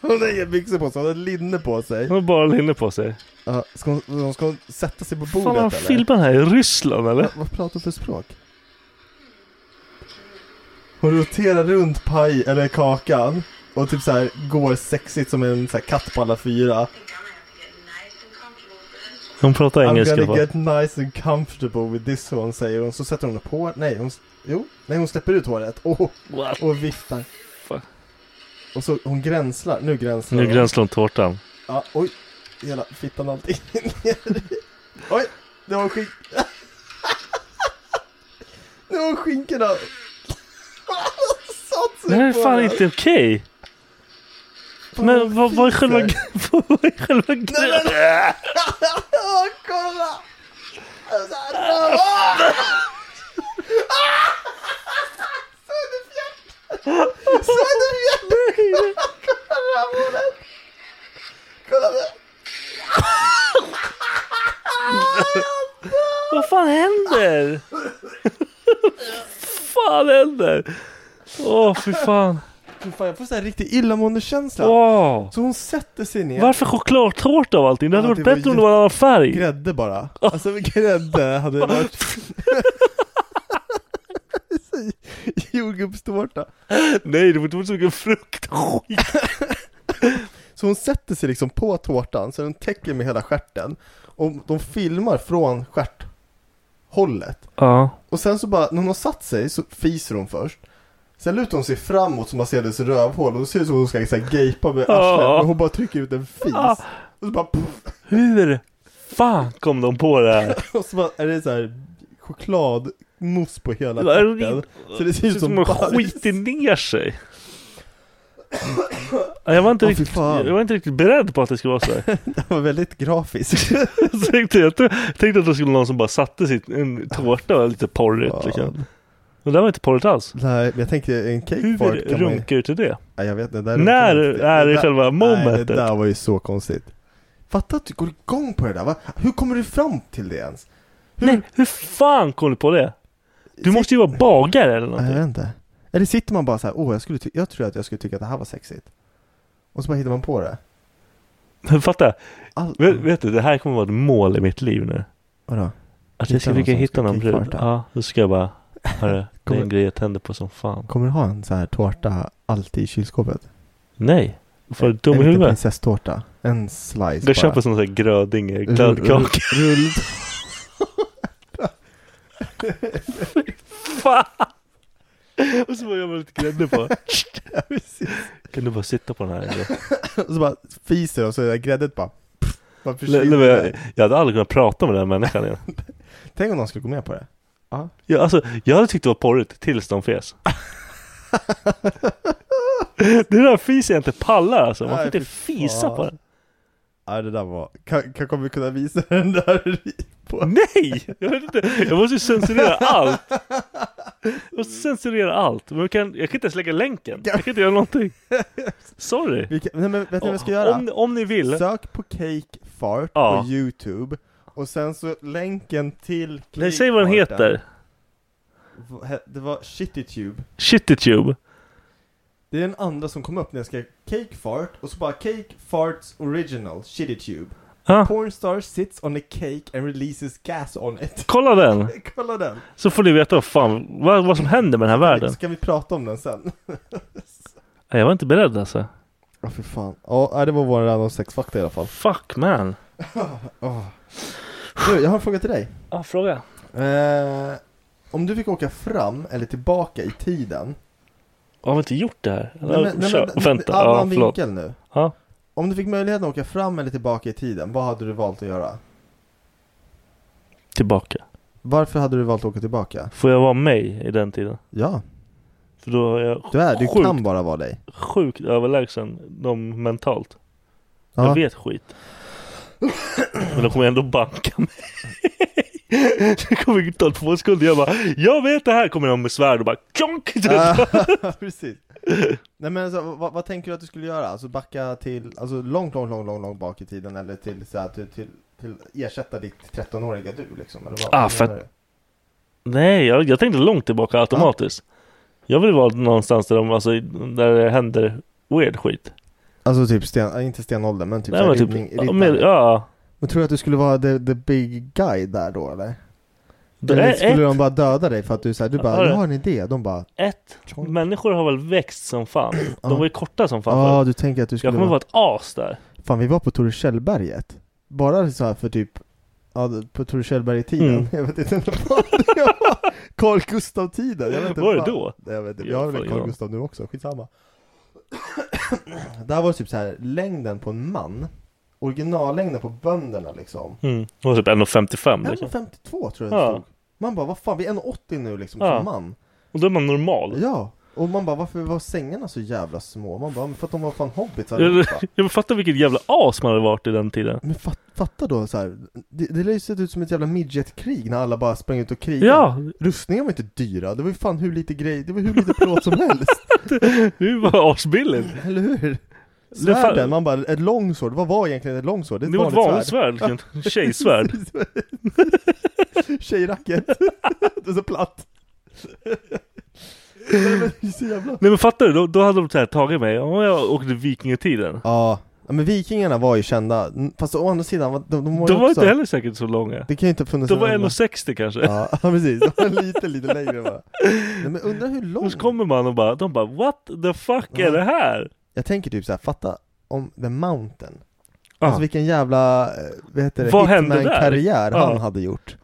E: Hon har inga byxor på sig, hon har linne på sig.
B: Hon har bara linne på sig.
E: Ja, ska hon, hon ska hon sätta sig på bordet
B: Fan,
E: eller?
B: vad filmar den här i Ryssland eller?
E: Vad pratar hon för språk? Hon roterar runt paj, eller kakan. Och typ så här går sexigt som en så här katt på alla fyra.
B: Hon pratar engelska.
E: I'm gonna
B: va?
E: get nice and comfortable with this one säger hon. Så sätter hon upp hår. Nej, hon, jo, nej, hon släpper ut håret. Och, och viftar. Och så hon gränslar. Nu gränslar
B: Nu
E: hon.
B: gränslar hon tårtan.
E: Ja, oj. Hela fittan och allting ner i. Oj, det var skink... det var skinkorna. Satt sig
B: Det här är
E: på
B: fan
E: den.
B: inte okej. Men vad, vad är själva gre- vad är själva grejen?
D: Åh, kolla! Så här- Åh! Söderfjärt! Söderfjärt! Kolla bordet! Kolla där!
B: Vad fan händer? fan händer? Åh fy fan.
E: Fy fan, jag får så här riktig illamående-känsla.
B: Åh.
E: Så hon sätter sig ner.
B: Varför chokladtårta av allting? Det hade
E: Ja,
B: varit
E: det var
B: bättre om det var en annan färg.
E: Grädde bara. Alltså grädde hade varit... Jordgubbstårta.
B: Nej, det var inte så mycket frukt. Skit.
E: Så hon sätter sig liksom på tårtan, så den täcker med hela stjärten. Och de filmar från stjärthållet.
B: Ja.
E: Och sen så bara, när hon har satt sig så fiser hon först. Sen lutar hon sig framåt så man ser hennes rövhål och då ser det ut som hon ska så här, gapa med arslet.
B: Ja.
E: Men hon bara trycker ut en fis.
B: Ja.
E: Och så bara puff,
B: Ah, Hur fan kom de på det här?
E: Och så bara, är det så här chokladmousse på hela
B: Det är-
E: stjärten. Så det ser ut som
B: de
E: bajs.
B: skiter ner sig. Ja, Jag var, inte
E: Åh, fy
B: riktigt,
E: fan.
B: jag var inte riktigt beredd på att det skulle vara så här.
E: Det var väldigt grafiskt.
B: Så tänkte jag, jag tänkte att det skulle vara någon som bara satte sitt, en tårta och lite porrigt liksom. Men det var inte porrigt alls.
E: Nej, men jag tänker en cake
B: Hur
E: fart kan man ju...
B: runkar du till det?
E: Nej, jag vet inte. det där
B: När
E: runkar inte.
B: är det
E: där-
B: själva
E: Nej,
B: momentet?
E: det där var ju så konstigt. Fatta att du går igång på det där. Va? Hur kommer du fram till det ens?
B: Nej, hur fan kom du på det? Du måste ju vara bagare eller
E: Nej, jag
B: någonting.
E: vet inte. Eller sitter man bara så här, åh, jag, skulle ty- jag tror att jag skulle tycka att det här var sexigt. Och så bara hittar man på det.
B: Men fatta.
E: All-
B: Vet, vet du, det här kommer vara ett mål i mitt liv nu.
E: Vadå?
B: Att jag ska
E: Hitta
B: försöka
E: någon som
B: hitta
E: ska
B: någon brud.
E: kickfarta.
B: Ja, då ska jag bara, hörru, det är
E: Kommer-
B: en grej jag tänder på som fan.
E: Kommer du ha en så här tårta alltid i kylskåpet?
B: Nej, för
E: En-
B: dum i
E: En liten
B: huvudet.
E: prinsesstårta. En slice
B: Jag köper sån här grödinge,
E: Rull-
B: glödkaka.
E: rull- rull-
B: Fan! Och så bara gör man lite grädde på. kan du bara sitta på den här? eller?
E: Och så bara fiser och så är det gräddet bara... pff, bara
B: Nej,
E: försvinner.
B: nej, men jag, jag hade aldrig kunnat prata med den här människan igen.
E: Tänk om någon skulle gå med på det. Ja.
B: Jag, alltså, jag hade tyckt det var porrigt tills de fes. det där fisen jag inte pallar alltså. Man får
E: Nej,
B: inte
E: fy
B: fisa
E: fan.
B: på den.
E: Ja, det där var... Kan, kan, kommer vi kunna visa den där? På?
B: Nej! Jag, vet inte. jag måste ju censurera allt. Jag måste censurera allt. Men jag kan, jag kan inte ens lägga länken. Jag kan inte göra någonting. Sorry.
E: Vi kan, nej, men vet ni vad vi ska
B: Om-
E: göra?
B: om- om ni vill.
E: Sök på Cake Fart
B: Ja.
E: på Youtube. Och sen så länken till Cake
B: Nej, säg vad den
E: Farten.
B: heter.
E: V- he- Det var Shittytube.
B: Shittytube.
E: Det är den andra som kom upp när jag skrev Cake Fart och så bara Cake Farts Original Shittytube.
B: Ah.
E: Pornstar sits on a cake and releases gas on it.
B: Kolla den.
E: Kolla den!
B: Så får ni veta vad, fan, vad, vad som händer med den här världen.
E: Så kan vi prata om den sen.
B: Nej, Jag var inte beredd alltså.
E: Ja, för fan. Ja, det var vår random sexfakta i alla fall.
B: Fuck man.
E: Oh. Du, jag har en fråga till dig.
B: Ja, fråga.
E: Eh, om du fick åka fram eller tillbaka i tiden.
B: Har vi inte gjort det här?
E: Nej, men- nej, men-
B: Kör.
E: nej,
B: Vänta.
E: annan
B: Ja, förlåt.
E: vinkel nu.
B: Ja.
E: Om du fick möjligheten att åka fram eller tillbaka i tiden, vad hade du valt att göra?
B: Tillbaka.
E: Varför hade du valt att åka tillbaka?
B: Får jag vara mig i den tiden?
E: Ja.
B: För då är jag
E: Du är, du
B: sjukt,
E: kan bara vara dig.
B: sjukt överlägsen dem mentalt.
E: Ja.
B: Jag vet skit. Men de kommer ändå banka mig. Det kommer ta två sekunder. Jag bara, jag vet det här. Kommer de med svärd och bara klonk.
E: Ja, precis. Nej men alltså, vad, vad tänker du att du skulle göra? Alltså backa till, alltså långt, långt, långt, långt, långt bak i tiden eller till så här, till, till, till ersätta ditt 13-åriga du liksom? Eller vad,
B: Ah,
E: vad
B: för-
E: menar du?
B: Nej, jag, jag tänkte långt tillbaka automatiskt. Jag vill vara någonstans där, de, alltså, där det händer weird skit.
E: Alltså typ sten, äh, inte stenåldern men typ,
B: Nej,
E: så
B: men
E: här
B: typ-
E: riddning-
B: ja,
E: riddare.
B: men- ja.
E: Men tror du att du skulle vara the, the big guy där då eller?
B: Det
E: eller
B: är
E: skulle
B: ett-
E: de bara döda dig för att du såhär, du bara,
B: Ja, det-
E: jag har en idé, de bara
B: Ett, människor har väl växt som fan. De var ju korta som fan
E: Ja,
B: förut.
E: du tänker att du skulle
B: Jag kommer vara
E: vara-
B: ett as där.
E: Fan vi var på Torresellberget Bara så här för typ Ja, på Torresellberg-tiden
B: Mm.
E: Jag vet inte vad det var Carl Gustav-tiden, jag vet inte
B: Var det
E: fan.
B: då?
E: Nej, Jag vet inte,
B: Jag
E: jag har
B: har
E: väl
B: fan
E: Carl
B: ingen
E: Gustav nu också, skitsamma Där var det typ så här längden på en man Originallängden på bönderna liksom
B: Mm. De var typ 1,55 liksom.
E: 1,52 tror jag det
B: Ja.
E: stod Man bara, vad fan, vi är 1,80 nu liksom
B: Ja.
E: som man
B: Och då är man normal.
E: Ja, och man bara, varför var sängarna så jävla små? Man bara, men för att de var fan hobbits
B: Jag,
E: allihopa
B: jag fattar vilket jävla as man hade varit i den tiden.
E: Men fat, fatta då så här. det, det lär ju sett ut som ett jävla midgetkrig när alla bara sprang ut och krigade
B: Ja.
E: Rustningar var inte dyra, det var ju fan hur lite grej, det var hur lite plåt som helst
B: Det var asbilligt.
E: Eller hur?
B: Det fan-
E: Svärden, man bara, ett långsvärd, vad var egentligen ett långsvärd?
B: Det var ett vanligt svärd, liksom. Tjejsvärd.
E: Tjejracket Det är så platt Nej, men det är så jävla
B: Nej men fattar du? Då, då hade de så här tagit mig. Om jag åkte vikingatiden.
E: Ja, ja, men vikingarna var ju kända, n- fast å andra sidan, de, de, ju
B: De var
E: också-
B: inte heller säkert så långa.
E: Det kan ju inte ha funnits
B: De var
E: en annan-
B: 1,60 kanske.
E: Ja, precis. De var lite, lite längre bara. Nej, men undrar hur lång...
B: Och så kommer man och bara, de bara what the fuck är det här?
E: Jag tänker typ såhär, fatta om The Mountain
B: Ja.
E: Alltså vilken jävla, eh, vad heter det,
B: Vad hände där?
E: karriär
B: Ja.
E: han hade gjort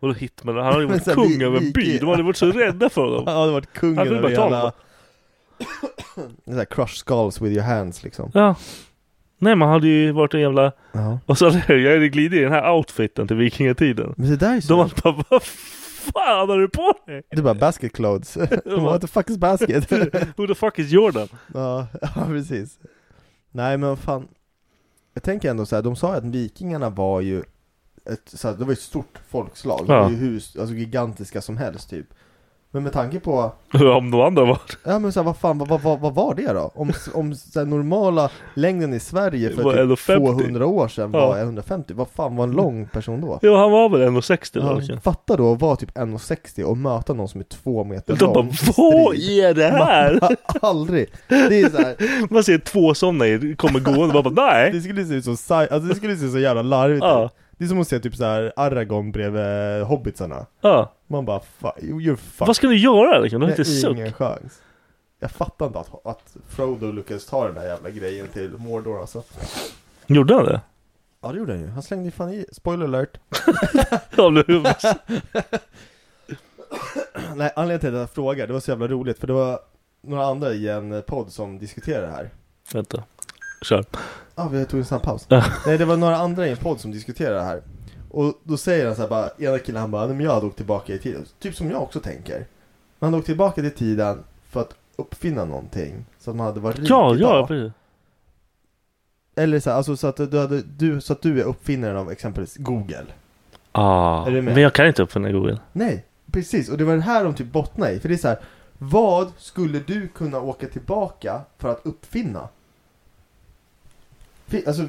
B: Och då Hitman, han hade ju
E: Men
B: varit
E: så här,
B: kung
E: vi-
B: över en
E: vi-
B: by. De hade varit så rädda för honom.
E: Han hade varit kungen
B: hade
E: över
B: bara tagit
E: hela
B: honom.
E: Såhär crush skulls with your hands liksom
B: Ja. Nej man hade ju varit en jävla...
E: Ja.
B: Och så hade jag- jag hade glidit i den här outfiten till vikingatiden.
E: Men det där är så
B: De hade bara vad fan har du på dig?
E: Det är bara basket clothes, De bara, what the fuck is basket?
B: Who the fuck is Jordan?
E: ja, ja, precis Nej men vad fan Jag tänker ändå så här, de sa ju att vikingarna var ju ett, så här, det var ju ett stort folkslag, det var
B: Ja.
E: ju hus, alltså gigantiska som helst typ Men med tanke på
B: Om de andra var
E: Ja men så här, vad fan, vad, vad, vad, vad var det då? Om, om så här, normala längden i Sverige
B: Var
E: för typ
B: 1,50.
E: 200 år sedan var
B: Ja.
E: 150, vad fan var en lång person då?
B: Ja han var väl 1,60 då
E: Ja,
B: kanske.
E: fatta då att vara typ 1,60 och möta någon som är två meter
B: De bara
E: lång
B: vad är det här?
E: Man, aldrig! Det är så här,
B: Man ser två sådana i- kommer gående och bara nej.
E: det skulle se ut som, sci- alltså det skulle se så jävla larvigt
B: Ja.
E: ut Det är som att se typ så här Aragorn bredvid hobbitsarna
B: Ja.
E: Man bara fa- you're fucked
B: Vad ska du göra liksom? Du har
E: Nej,
B: inte suck.
E: ingen chans Jag fattar inte att, att Frodo lyckades ta den där jävla grejen till Mordor alltså
B: Gjorde han det?
E: Ja det gjorde han ju, han slängde ju fan i, spoiler alert
B: Ja, nu-
E: Nej anledningen till att jag frågar, det var så jävla roligt för det var några andra i en eh, podd som diskuterade det här
B: Vänta. Kör.
E: Ja, vi tog en snabb paus.
B: Ja.
E: Nej, det var några andra i en podd som diskuterade det här. Och då säger han så här bara, ena killen han bara, nej men jag hade åkt tillbaka i tiden. Typ som jag också tänker. Man hade åkt tillbaka till tiden för att uppfinna någonting. Så att man hade varit rik
B: Ja,
E: idag.
B: ja precis.
E: Eller så, här, alltså, så, att du hade, du, så att du är uppfinnaren av exempelvis Google.
B: Ah,
E: Är du med?
B: men jag kan inte uppfinna Google.
E: Nej, precis. Och det var det här de typ bottnade i. För det är så här, vad skulle du kunna åka tillbaka för att uppfinna? Fi- Alltså,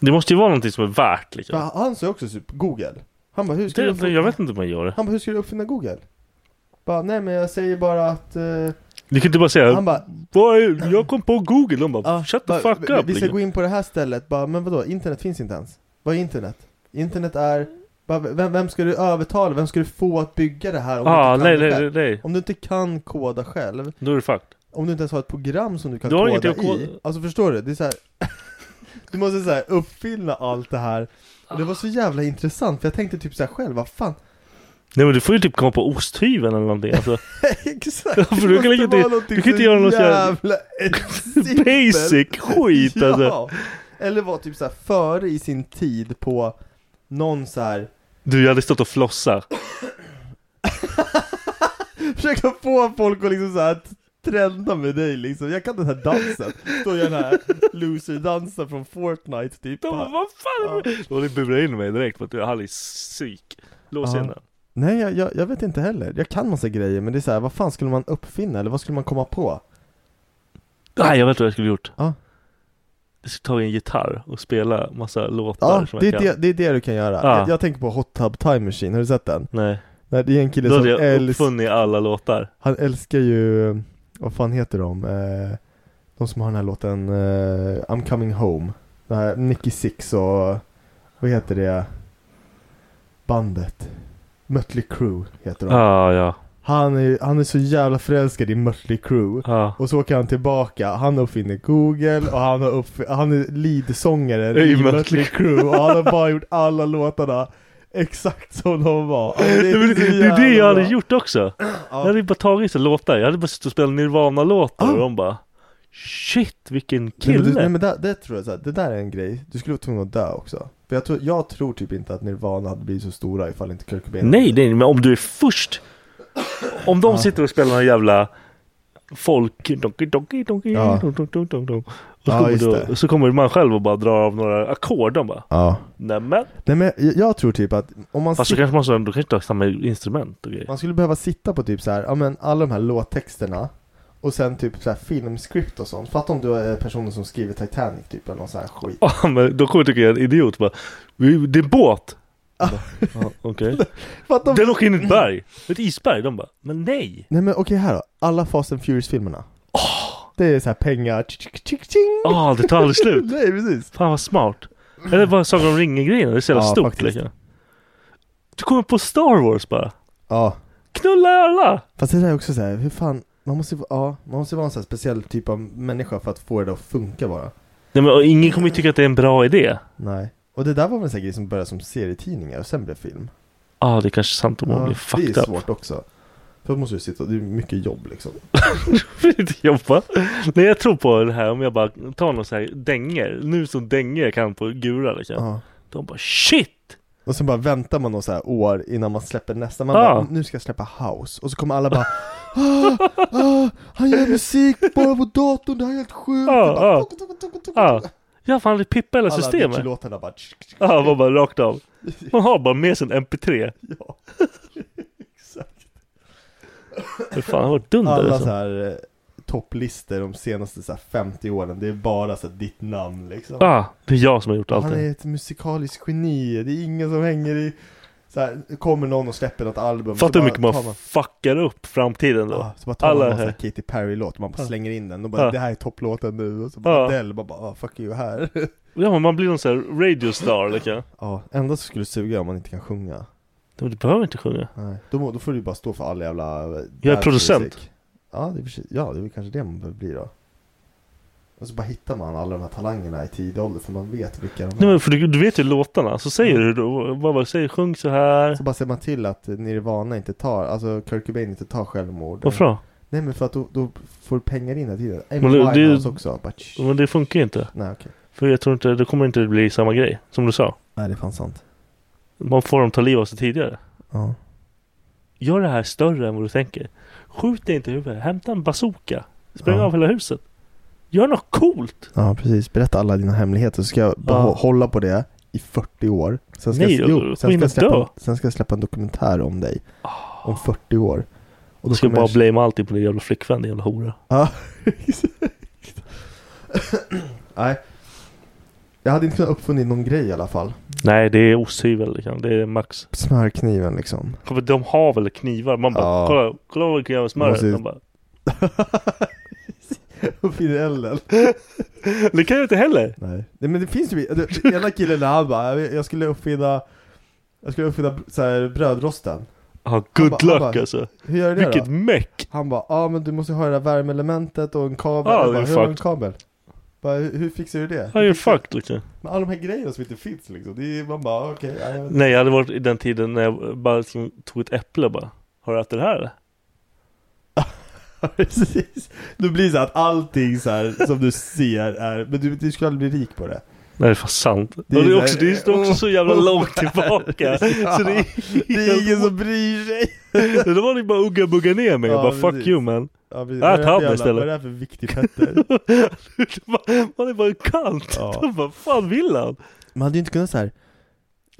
B: Det måste ju vara någonting som är värt liksom.
E: för han sa också typ Google. Han bara, hur ska
B: Det,
E: du få-
B: jag vet inte hur man gör det.
E: Han bara, hur ska du uppfinna Google? Bara, nej men jag säger bara att... eh,
B: Du kan inte bara säga
E: Han bara,
B: Vad är, jag kom på Google. De bara shut the
E: bara,
B: fuck
E: vi,
B: up.
E: Vi ska
B: liksom.
E: gå in på det här stället, bara, men vadå, internet finns inte ens. Vad är internet? Internet är... Bara, vem, vem ska du övertala? Vem ska du få att bygga det här om,
B: Ah,
E: du, inte
B: nej,
E: kan det
B: nej,
E: själv?
B: nej, nej.
E: om du inte kan koda själv?
B: Då är det fucked.
E: Om du inte ens har ett program som du kan
B: Du har
E: koda
B: ingenting att koda.
E: i? Alltså förstår du? Det är så här, Du måste så här uppfinna allt det här. Och det var så jävla intressant, för jag tänkte typ så här själv, vad fan?
B: Nej men du får ju typ komma på osthyveln eller någonting. Alltså.
E: Exakt!
B: Ja, för du
E: Det
B: kan
E: måste
B: inte-
E: vara
B: du
E: någonting
B: kan inte
E: så
B: göra något så här-
E: jävla simpelt.
B: Basic skit alltså.
E: Ja. Eller vara typ så här före i sin tid på någon så här
B: Du, jag hade stått och flossat.
E: Försöka få folk att liksom så här trenda med dig liksom. Jag kan den här dansen. Då gör jag den här loser-dansen från Fortnite typ.
B: De bara, vad fan? Då hade de burat in mig direkt för att jag hade psyk. Lås
E: Ja.
B: in den.
E: Nej, jag, jag, jag vet inte heller. Jag kan massa grejer, men det är så här, vad fan skulle man uppfinna eller vad skulle man komma på?
B: Nej, jag vet vad jag skulle gjort.
E: Ja.
B: Jag skulle ta en gitarr och spela massa låtar
E: Ja,
B: som
E: det,
B: jag
E: är
B: kan.
E: det, det är det du kan göra.
B: Ja.
E: Jag, jag tänker på Hot Tub Time Machine, har du sett den?
B: Nej.
E: Nej, det är en kille
B: Då
E: som
B: hade jag
E: älskar
B: uppfunnit alla låtar.
E: Han älskar ju, eh, vad fan heter de? Eh, De som har den här låten eh, I'm coming home. Den här Nicky Six och, vad heter det? Bandet. Mötley Crüe heter de.
B: Ja, ja.
E: Han är, han är så jävla förälskad i Mötley Crüe. Och så åker han tillbaka. Han uppfinner Google och han, har uppf- han är leadsångare
B: I
E: i
B: Mötley
E: Mötley Crüe. Och han har bara gjort alla låtarna exakt som de var. Alltså,
B: Det
E: så
B: är, det, är det
E: jävla
B: jag hade
E: bra.
B: gjort också. Jag hade bara tagit så låtar. Jag hade bara suttit och spelat Nirvana-låtar och de bara Shit vilken
E: Nej, men,
B: kille!
E: du, nej, men det, det tror jag så här, det där är en grej, du skulle vara tvungen att dö också. För jag tror, jag tror typ inte att Nirvana hade blivit så stora ifall inte Kurt Cobain
B: Nej, nej, men om du är först. Om de sitter och spelar någon jävla folk... Donki, donki, donki,
E: Ja.
B: dong, dong, dong, dong, dong. Och så,
E: Ja,
B: kommer
E: just
B: då-
E: det.
B: och så kommer man själv och bara drar av några ackord. De bara
E: Ja.
B: Nämen!
E: Nej men jag, jag tror typ att om man,
B: Fast så
E: sit-
B: kanske man så- då kanske inte har samma instrument och grejer.
E: man skulle behöva sitta på typ så här, ja men alla de här låttexterna och sen typ så här filmskript och sånt. Fatta om du är personen som skriver Titanic typ eller någon sån här skit.
B: Ja, men då kommer jag tycka jag är en idiot bara "Vi- Det är en båt! Jag bara, "Ja, Okej.
E: Fatta om...
B: Den åker in i ett berg! Ett isberg! De bara Men nej!
E: Nej men okej här då, alla Fast and Furious-filmerna. Det är så här pengar, ching.
B: Ah, det tar aldrig slut.
E: Nej precis.
B: Fan vad smart. Eller bara Sagan om ringen-grejen, det är så jävla
E: Ja,
B: stort
E: faktiskt.
B: liksom. Du kommer på Star Wars bara.
E: Ja.
B: Knulla alla!
E: Fast det där är också så här, hur fan, man måste, ju- ja, man måste vara en sån här speciell typ av människa för att få det att funka bara.
B: Nej men och ingen kommer ju tycka att det är en bra idé. Ja,
E: Nej. Och det där var väl en sån här grej som började som serietidningar och sen blev film.
B: ah, det är kanske är sant om man blir
E: det
B: fucked
E: är
B: up.
E: svårt också. För då måste du sitta, det är mycket jobb liksom.
B: Vill inte jobba. Nej jag tror på det här om jag bara tar någon så här dänger. Nu som dänger kan på gura liksom.
E: Ja.
B: De bara shit!
E: Och sen bara väntar man några så här år innan man släpper nästa, man
B: Ja.
E: bara, nu ska jag släppa house. Och så kommer alla bara, ah, ah, han gör musik bara på datorn, det här är helt sjukt.
B: Ja,
E: Och bara,
B: ja. Ja. Jag har fan aldrig pippa hela
E: Alla
B: ah. systemet.
E: Avicii-låtarna bara, tsk, tsk,
B: Ja, var bara rakt av. Man har bara med sig en MP3.
E: ja.
B: Hur fan har varit dunder
E: Alla
B: alltså.
E: så här eh, topplistor de senaste så här 50 åren, det är bara så här ditt namn liksom.
B: Ja, ah, det är jag som har gjort
E: Han
B: allting.
E: är ett musikaliskt geni, det är ingen som hänger i... Så här, kommer någon och släpper något album. så
B: Fattar hur
E: bara Ah.
B: mycket man,
E: tar man
B: fuckar upp framtiden då.
E: Ja, så bara tar man
B: Alla
E: någon sån här
B: här.
E: Katy Perry-låt, man bara
B: Ja.
E: slänger in den och bara
B: Ja.
E: det här är topplåten nu och så bara
B: Ja.
E: Adele, man bara ah, fuck you här
B: Ja, men man blir någon sån här radio star liksom.
E: Ja, enda som skulle suga är om man inte kan sjunga
B: Men Du behöver inte sjunga.
E: Nej, då, må- då får du ju bara stå för all jävla
B: Jag är
E: dance
B: producent.
E: music. Ja, det är, precis- ja, det är väl kanske det man behöver bli då Och så bara hittar man alla de här talangerna i tidig ålder för man vet vilka de är
B: Nej, men för du, du vet ju låtarna, så säger du då, vad vad säger sjung så här.
E: Så bara ser man till att Nirvana inte tar, alltså Kurt Cobain inte tar självmord
B: Varför då?
E: Nej men för att då, då får du pengar in hela tiden
B: Men
E: Amy
B: det- det-
E: Winehouse också, bara, tsch.
B: Men det funkar ju inte.
E: Nej okej,
B: För jag tror inte, det kommer inte bli samma grej som du sa.
E: nej det är fan sant
B: Man får dem ta liv av sig tidigare.
E: Ja
B: Gör det här större än vad du tänker. Skjut dig inte i huvudet. Hämta en bazooka. Spräng
E: Ja.
B: av hela huset. Gör något coolt.
E: Ja precis, berätta alla dina hemligheter så ska jag behå-
B: Ja.
E: hålla på det i 40 år Sen ska,
B: Nej,
E: jag,
B: då
E: jo, sen,
B: hinner
E: ska jag
B: dö.
E: släppa, sen ska jag släppa en dokumentär om dig Om 40 år
B: Och då ska jag bara blamea allting på din jävla flickvän, din jävla hora.
E: Ja, exakt Nej Jag hade inte kunnat uppfunnit någon grej i alla fall
B: Nej, det är osthyvel liksom. Det är max.
E: Smörkniven liksom
B: Kommer- De har väl knivar? Man bara,
E: Ja.
B: kolla, kolla vad vi kan göra med smöret.
E: Måste ju-
B: De bara,
E: Uppfinner elden
B: det kan jag inte heller.
E: Nej. Nej men det finns ju, det- ena killen där han bara, "Jag- jag skulle uppfinna Jag skulle uppfinna så här, brödrosten
B: Ja,
E: Han
B: good
E: bara-
B: luck
E: han bara,
B: alltså.
E: Hur gör du det
B: Vilket
E: då?
B: meck.
E: Han bara, ja ah, men du måste ha det där värmeelementet och en kabel.
B: Ja,
E: Jag
B: det
E: bara,
B: är
E: hur har du en
B: fucked.
E: kabel? Bara, hur, hur fixar du det?
B: Ja, you're fucked liksom.
E: Men alla de här grejerna som inte finns liksom, det är, man bara okej, ja, jag vet inte.
B: Nej, jag hade varit i den tiden när jag bara liksom tog ett äpple och bara, har du ätit det här eller?
E: Precis. Det blir så att allting så här som du ser är, men du, du skulle aldrig bli rik på det.
B: Nej, det är fan sant.
E: Det
B: och det
E: är
B: är också,
E: där-
B: det står också så jävla
E: Oh,
B: långt tillbaka.
E: herregud.
B: Så det är,
E: Det är ingen som bryr sig.
B: det var ni bara ugga bugga ner mig.
E: Ja,
B: Jag bara fuck
E: precis.
B: you man.
E: Ja, precis. Vad är
B: jag tar
E: det för
B: av mig
E: jävla-
B: istället.
E: Vad är det här för viktig fetter?
B: Man är bara kallt.
E: Ja.
B: De bara, fan vill han?
E: Man hade ju inte kunnat så här.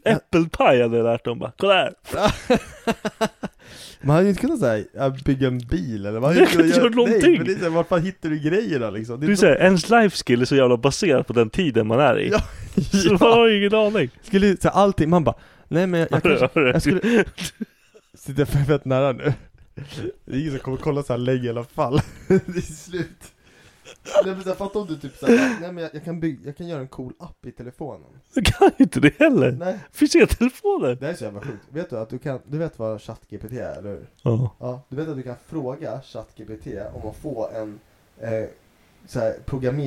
B: Äppelpaj hade jag lärt dem bara, kolla här!
E: Man hade ju inte kunnat så här, ja, bygga en bil eller man hade
B: Nej,
E: inte kunnat
B: jag
E: göra
B: gör någonting.
E: Nej, men det är så här, var fan hittar du grejerna liksom? Det
B: Du
E: är
B: säger, ens life skill är så jävla baserat på den tiden man är i.
E: Ja,
B: Så man har ju ingen aning.
E: Skulle så här, allting, man bara Nej men jag, jag
B: Hörru,
E: kanske,
B: hörru.
E: jag skulle Sitter jag fett nära nu? Det är ingen som kommer kolla så här länge i alla fall Det är slut Nej men så här, fatta om du typ så här, nej men jag, jag kan bygga, jag kan göra en cool app i telefonen
B: Jag kan ju inte det heller.
E: Nej.
B: Finns inga telefoner.
E: Det här är så jävla sjukt, vet du att du kan, du vet vad ChatGPT är eller hur?
B: Ja.
E: Ja, du vet att du kan fråga ChatGPT om att få en eh, så här,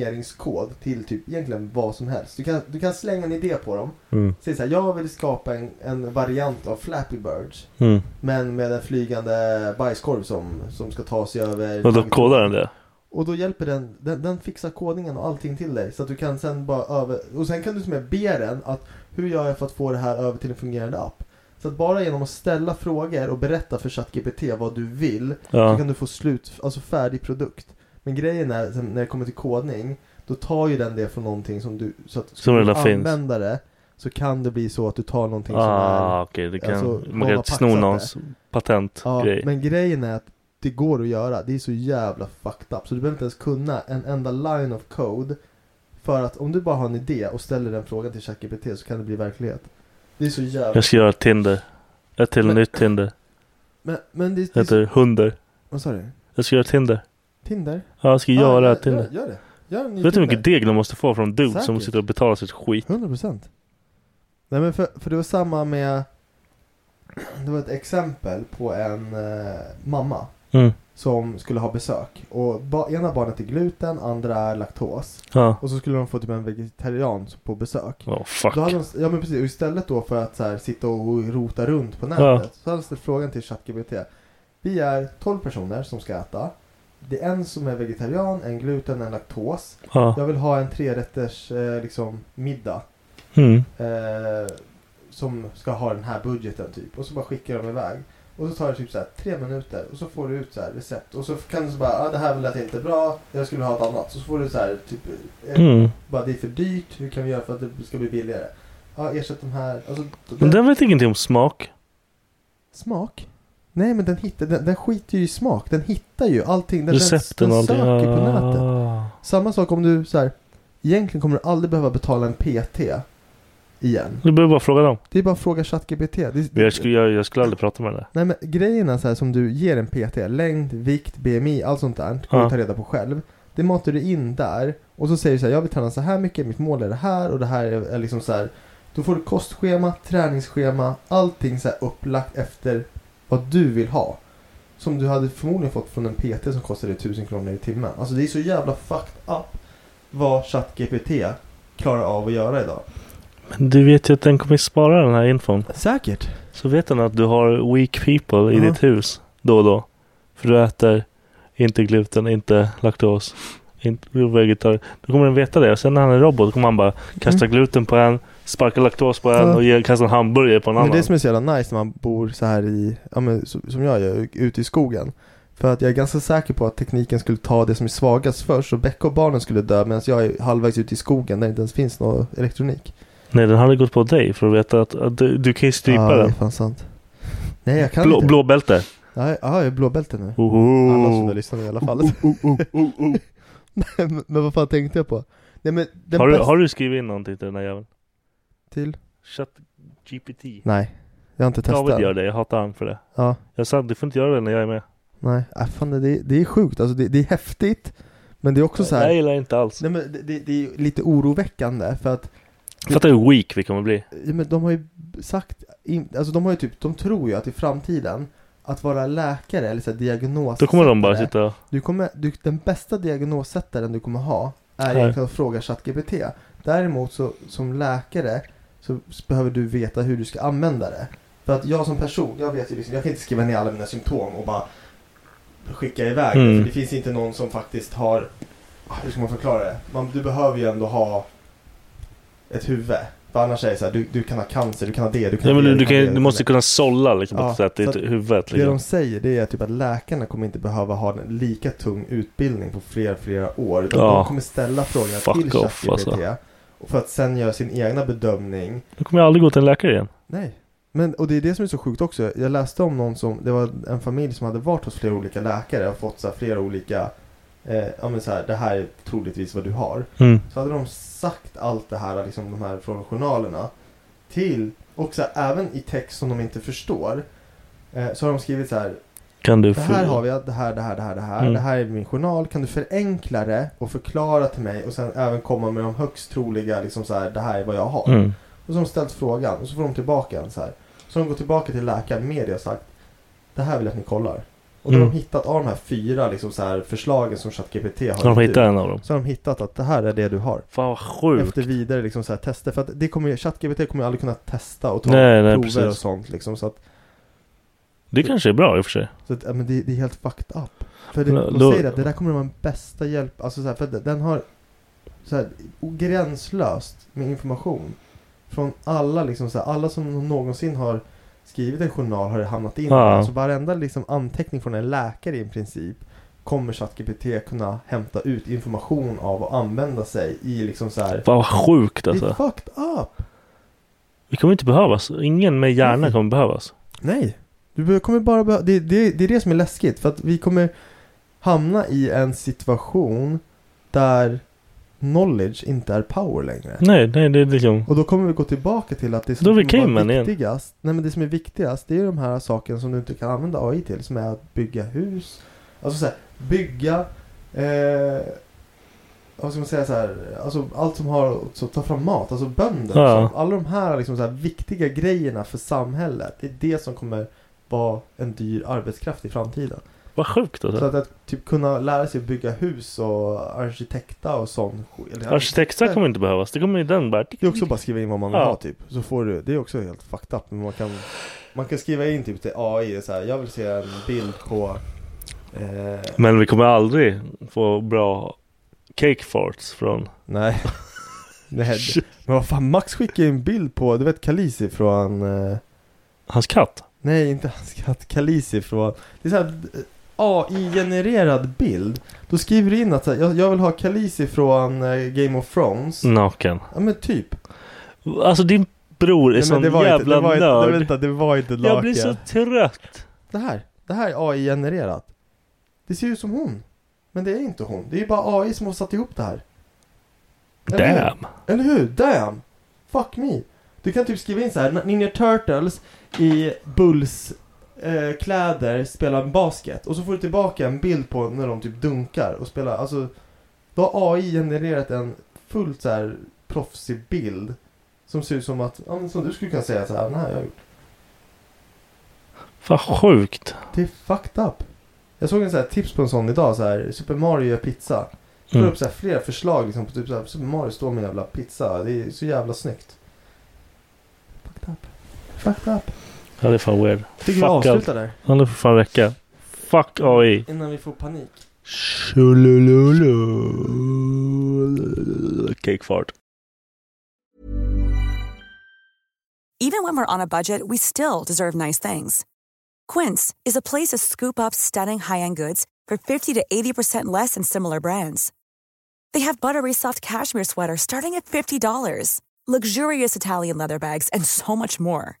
E: programmeringskod till typ egentligen vad som helst. Du kan, du kan slänga en idé på dem.
B: Mm.
E: Säg så här, jag vill skapa en, en variant av Flappy Birds.
B: Mm.
E: Men med en flygande bajskorv som, som ska ta sig över.
B: Och då kodar den det.
E: Och då hjälper den, den, den fixar kodningen och allting till dig. Så att du kan sen bara över, och sen kan du som är be den att hur gör jag för att få det här över till en fungerande app? Så att bara genom att ställa frågor och berätta för ChatGPT vad du vill
B: Ja.
E: så kan du få slut, alltså färdig produkt. Men grejen är, sen när det kommer till kodning, då tar ju den det från någonting som du, så att
B: Som
E: du
B: redan finns.
E: använder det så kan det bli så att du tar någonting som är
B: Ah okej, det kan,
E: alltså, någon
B: man
E: har
B: kan
E: paxat
B: sno
E: det.
B: någons patentgrej.
E: men grejen är att det går att göra. Det är så jävla fucked up. Så du behöver inte ens kunna en enda line of code. För att om du bara har en idé och ställer den frågan till ChatGPT så kan det bli verklighet. Det är så jävla...
B: Jag ska göra ett Tinder. Ett till
E: Men-
B: nytt Tinder.
E: Men, men det, det är...
B: Heter
E: så-
B: Hunder.
E: Vad sa du?
B: Jag ska göra Tinder.
E: Tinder? Ah,
B: Ja, jag ska göra
E: gör-
B: ett Tinder.
E: Gör, gör det. Gör en
B: Vet
E: ny
B: du hur
E: Tinder.
B: mycket deg de måste få från dudes som
E: Säkert.
B: sitter och betalar sitt skit?
E: 100% Nej men för, för det var samma med Det var ett exempel på en eh, mamma
B: Mm.
E: Som skulle ha besök och ba, ena barnet är gluten, andra är laktos
B: Ja.
E: Och så skulle de få typ en vegetarian på besök
B: Åh, fuck.
E: då hade de, Ja men precis, och istället då för att så här, sitta och rota runt på nätet
B: Ja.
E: Så hade de ställt frågan till ChatGPT Vi är 12 personer som ska äta Det är en som är vegetarian, en gluten, en laktos
B: Ja.
E: Jag vill ha en trerätters eh, liksom, middag
B: Mm.
E: eh, som ska ha den här budgeten typ. Och så bara skickar de iväg. Och så tar det typ så här tre minuter och så får du ut så här recept. Och så kan du så bara, ah, det här lät inte bra, jag skulle ha ett annat. Så får du så här typ, eh,
B: Mm.
E: bara det är för dyrt, hur kan vi göra för att det ska bli billigare? Ja, ersätt de här. Alltså,
B: Men den vet ingenting om smak.
E: Smak? Nej men den, hittar, den, den skiter ju i smak, den hittar ju allting. Den,
B: Recepten
E: den,
B: och
E: den
B: allting.
E: söker på
B: Ah.
E: nätet. Samma sak om du så här, egentligen kommer du aldrig behöva betala en PT igen.
B: Du behöver bara fråga dem.
E: Det är bara att fråga ChatGPT. Det,
B: Men Jag skulle, jag, jag skulle aldrig prata med den där.
E: Nej men grejerna så här som du ger en PT, längd, vikt, BMI, allt sånt där, kan
B: Ja.
E: du ta reda på själv. Det matar du in där och så säger du så här, jag vill träna så här mycket, mitt mål är det här och det här är, är liksom så här. Då får du kostschema, träningsschema, allting så här upplagt efter vad du vill ha. Som du hade förmodligen fått från en PT som kostade 1000 kronor i timmen. Alltså det är så jävla fucked up vad ChatGPT klarar av att göra idag.
B: Men du vet ju att den kommer spara den här infon.
E: Säkert.
B: Så vet den att du har weak people i
E: Ja.
B: ditt hus då och då. För du äter inte gluten, inte laktos, inte vegetar. Då kommer den veta det. Och sen när han är robot kommer han bara kasta gluten på en, sparka laktos på en
E: Mm. Ja.
B: och ge, kasta en hamburgare på en
E: Men
B: annan.
E: det som är så jävla nice när man bor så här i, ja men så- som jag gör, ute i skogen. För att jag är ganska säker på att tekniken skulle ta det som är svagast först och Becka och barnen skulle dö medan jag är halvvägs ute i skogen där det inte ens finns någon elektronik.
B: Nej, den hade gått på dig för att veta att, att du, du kan ju strypa
E: Ja, det är
B: den.
E: fan sant. Nej jag kan
B: Blå,
E: inte.
B: blåbälte.
E: Ja, ja, jag är blåbälte nu.
B: Oho.
E: Alla som lyssnar i alla fall. Nej, men- men vad fan tänkte jag på? Nej, men den
B: Har du,
E: bästa-
B: har du skrivit in någonting till den här jäveln?
E: Till?
B: Chat GPT.
E: Nej, jag har inte testat.
B: David gör det, jag hatar han för det.
E: Ja.
B: Jag sa du får inte göra det när jag är med.
E: Nej, äh, fan, det, det är sjukt. Alltså, det, det är häftigt. Men det är också så här.
B: Jag gillar det inte alls.
E: Nej, men det, det, det är lite oroväckande för att
B: Fattar hur weak vi kommer bli.
E: ja, men de har ju sagt, in- alltså de har ju typ, de tror ju att i framtiden att vara läkare eller så här diagnos
B: Då kommer de bara sitta och...
E: du kommer, du, Den bästa diagnossättaren du kommer ha är
B: Nej.
E: egentligen att fråga ChatGPT. Däremot så som läkare så s- behöver du veta hur du ska använda det. För att jag som person, jag vet ju liksom, jag kan inte skriva ner alla mina symptom och bara skicka iväg det.
B: Mm.
E: För det finns inte någon som faktiskt har, ah, hur ska man förklara det? Man, du behöver ju ändå ha ett huvud. För annars är det så här, du, du kan ha cancer, du kan ha det, du kan
B: Ja,
E: ha
B: men du,
E: det,
B: du,
E: ha det,
B: kan, du
E: kan
B: måste
E: det.
B: kunna sålla liksom,
E: Ja,
B: att, så att det
E: så
B: är
E: att
B: huvudet.
E: Det de
B: Liksom.
E: säger det är typ att läkarna kommer inte behöva ha en lika tung utbildning på flera, flera år. Utan
B: Ja.
E: de kommer ställa frågorna
B: Fuck
E: till
B: off,
E: ChatGPT.
B: alltså.
E: Och för att sen göra sin egna bedömning
B: Då kommer jag aldrig gå till en läkare igen.
E: Nej. Men, och det är det som är så sjukt också. Jag läste om någon som, det var en familj som hade varit hos flera olika läkare och fått så här, flera olika, eh, ja men så här, det här är troligtvis vad du har.
B: Mm.
E: Så hade de sagt allt det här, liksom de här från journalerna, till, och så här, även i text som de inte förstår, eh, så har de skrivit så här,
B: Kan du
E: det här
B: för-
E: har vi, det här, det här, det här, det här,
B: Mm.
E: det här är min journal. Kan du förenkla det och förklara till mig och sen även komma med de högst troliga, liksom så här, det här är vad jag har.
B: Mm.
E: Och så har de ställt frågan och så får de tillbaka en så här. Så de går tillbaka till läkaren med det och sagt, det här vill jag att ni kollar. Och då har
B: Mm.
E: de hittat av de här fyra liksom så här, förslagen som ChatGPT har.
B: Så de
E: gett
B: hittar
E: ut,
B: en av dem.
E: Så har de hittat att det här är det du har.
B: Fan vad sjukt.
E: Efter vidare liksom så här tester. För att det kommer ju- ChatGPT kommer ju aldrig kunna testa och ta
B: Nej, nej,
E: prover och
B: precis.
E: sånt liksom. Så att
B: Det kanske är bra i och för sig.
E: så att, ja, men det, det är helt fucked up. För det,
B: Nå-
E: de
B: då-
E: säger att det där kommer att vara den bästa hjälp, alltså så här, för att den har så här, gränslöst med information. Från alla liksom så här, alla som någonsin har skrivit en journal har det hamnat in.
B: Ja.
E: Alltså varenda liksom anteckning från en läkare i princip kommer ChatGPT kunna hämta ut information av och använda sig i liksom så här.
B: Fan vad sjukt
E: Det är
B: alltså.
E: fucked up!
B: Vi kommer inte behövas. Ingen med hjärna kommer behövas.
E: Nej, du be- kommer bara behö- det, det, det är det som är läskigt för att vi kommer hamna i en situation där knowledge inte är power längre.
B: Nej, nej, det är liksom...
E: Och då kommer vi gå tillbaka till att det som
B: Då är vi
E: kommer vara
B: cavemen igen.
E: viktigast, nej men det som är viktigast det är de här sakerna som du inte kan använda AI till som är att bygga hus, alltså så här, bygga, eh, vad ska man säga så här, alltså allt som har så ta fram mat, alltså bönder,
B: Ja.
E: så, alla de här liksom så här viktiga grejerna för samhället, det är det som kommer vara en dyr arbetskraft i framtiden.
B: Vad sjukt
E: Så
B: alltså.
E: att, att typ kunna lära sig att bygga hus och arkitekta och sån skit. eller-
B: Arkitekter kommer inte behövas. Det kommer ju den bara...
E: det är också bara skriva in vad man vill
B: Ja.
E: ha typ. Så får du, det är också helt fucked up. Men man kan, man kan skriva in typ till AI så här, jag vill se en bild på eh,
B: Men vi kommer aldrig få bra cake farts från...
E: Nej. Nej, det- men vad fan, Max skickade ju en bild på, du vet Kalisi från... Eh...
B: Hans katt?
E: Nej, inte hans katt. Kalisi från... Det är så här eh, AI-genererad bild. Då skriver du in att så här, jag, jag vill ha Kalisi från eh, Game of Thrones.
B: Naken.
E: Ja men typ.
B: Alltså din bror är
E: Nej,
B: sån
E: men det var
B: jävla
E: inte, det var inte,
B: nörd.
E: Vänta, det var inte laken.
B: jag blir så trött.
E: Det här, det här är AI-genererat. Det ser ju ut som hon. Men det är inte hon. Det är ju bara AI som har satt ihop det här.
B: Damn.
E: Hur? Eller hur? Damn! Fuck me. Du kan typ skriva in så här, Ninja Turtles i Bulls eh, kläder spelar basket. Och så får du tillbaka en bild på när de typ dunkar och spelar. Alltså, då har AI genererat en fullt så här proffsig bild. Som ser ut som att, ja, men som du skulle kunna säga så här, den här har jag gjort.
B: Fan sjukt.
E: Det är fucked up. Jag såg en så här tips på en sån idag, så här, Super Mario gör pizza. Får
B: Mm.
E: upp så här flera förslag liksom, på typ så här, Super Mario står med en jävla pizza. Det är så jävla snyggt. Fucked up. Fucked up.
B: Ja det är fan weird.
E: Tycker vi
B: Fuck
E: avslutar
B: allt.
E: där?
B: Ja det får fan räcka. Fuck E. AI.
E: Innan vi får panik.
B: Cake fart.
A: Even when we're on a budget, we still deserve nice things. Quince is a place to scoop up stunning high-end goods for 50 to 80% less than similar brands. They have buttery soft cashmere sweaters starting at $50, luxurious Italian leather bags, and so much more.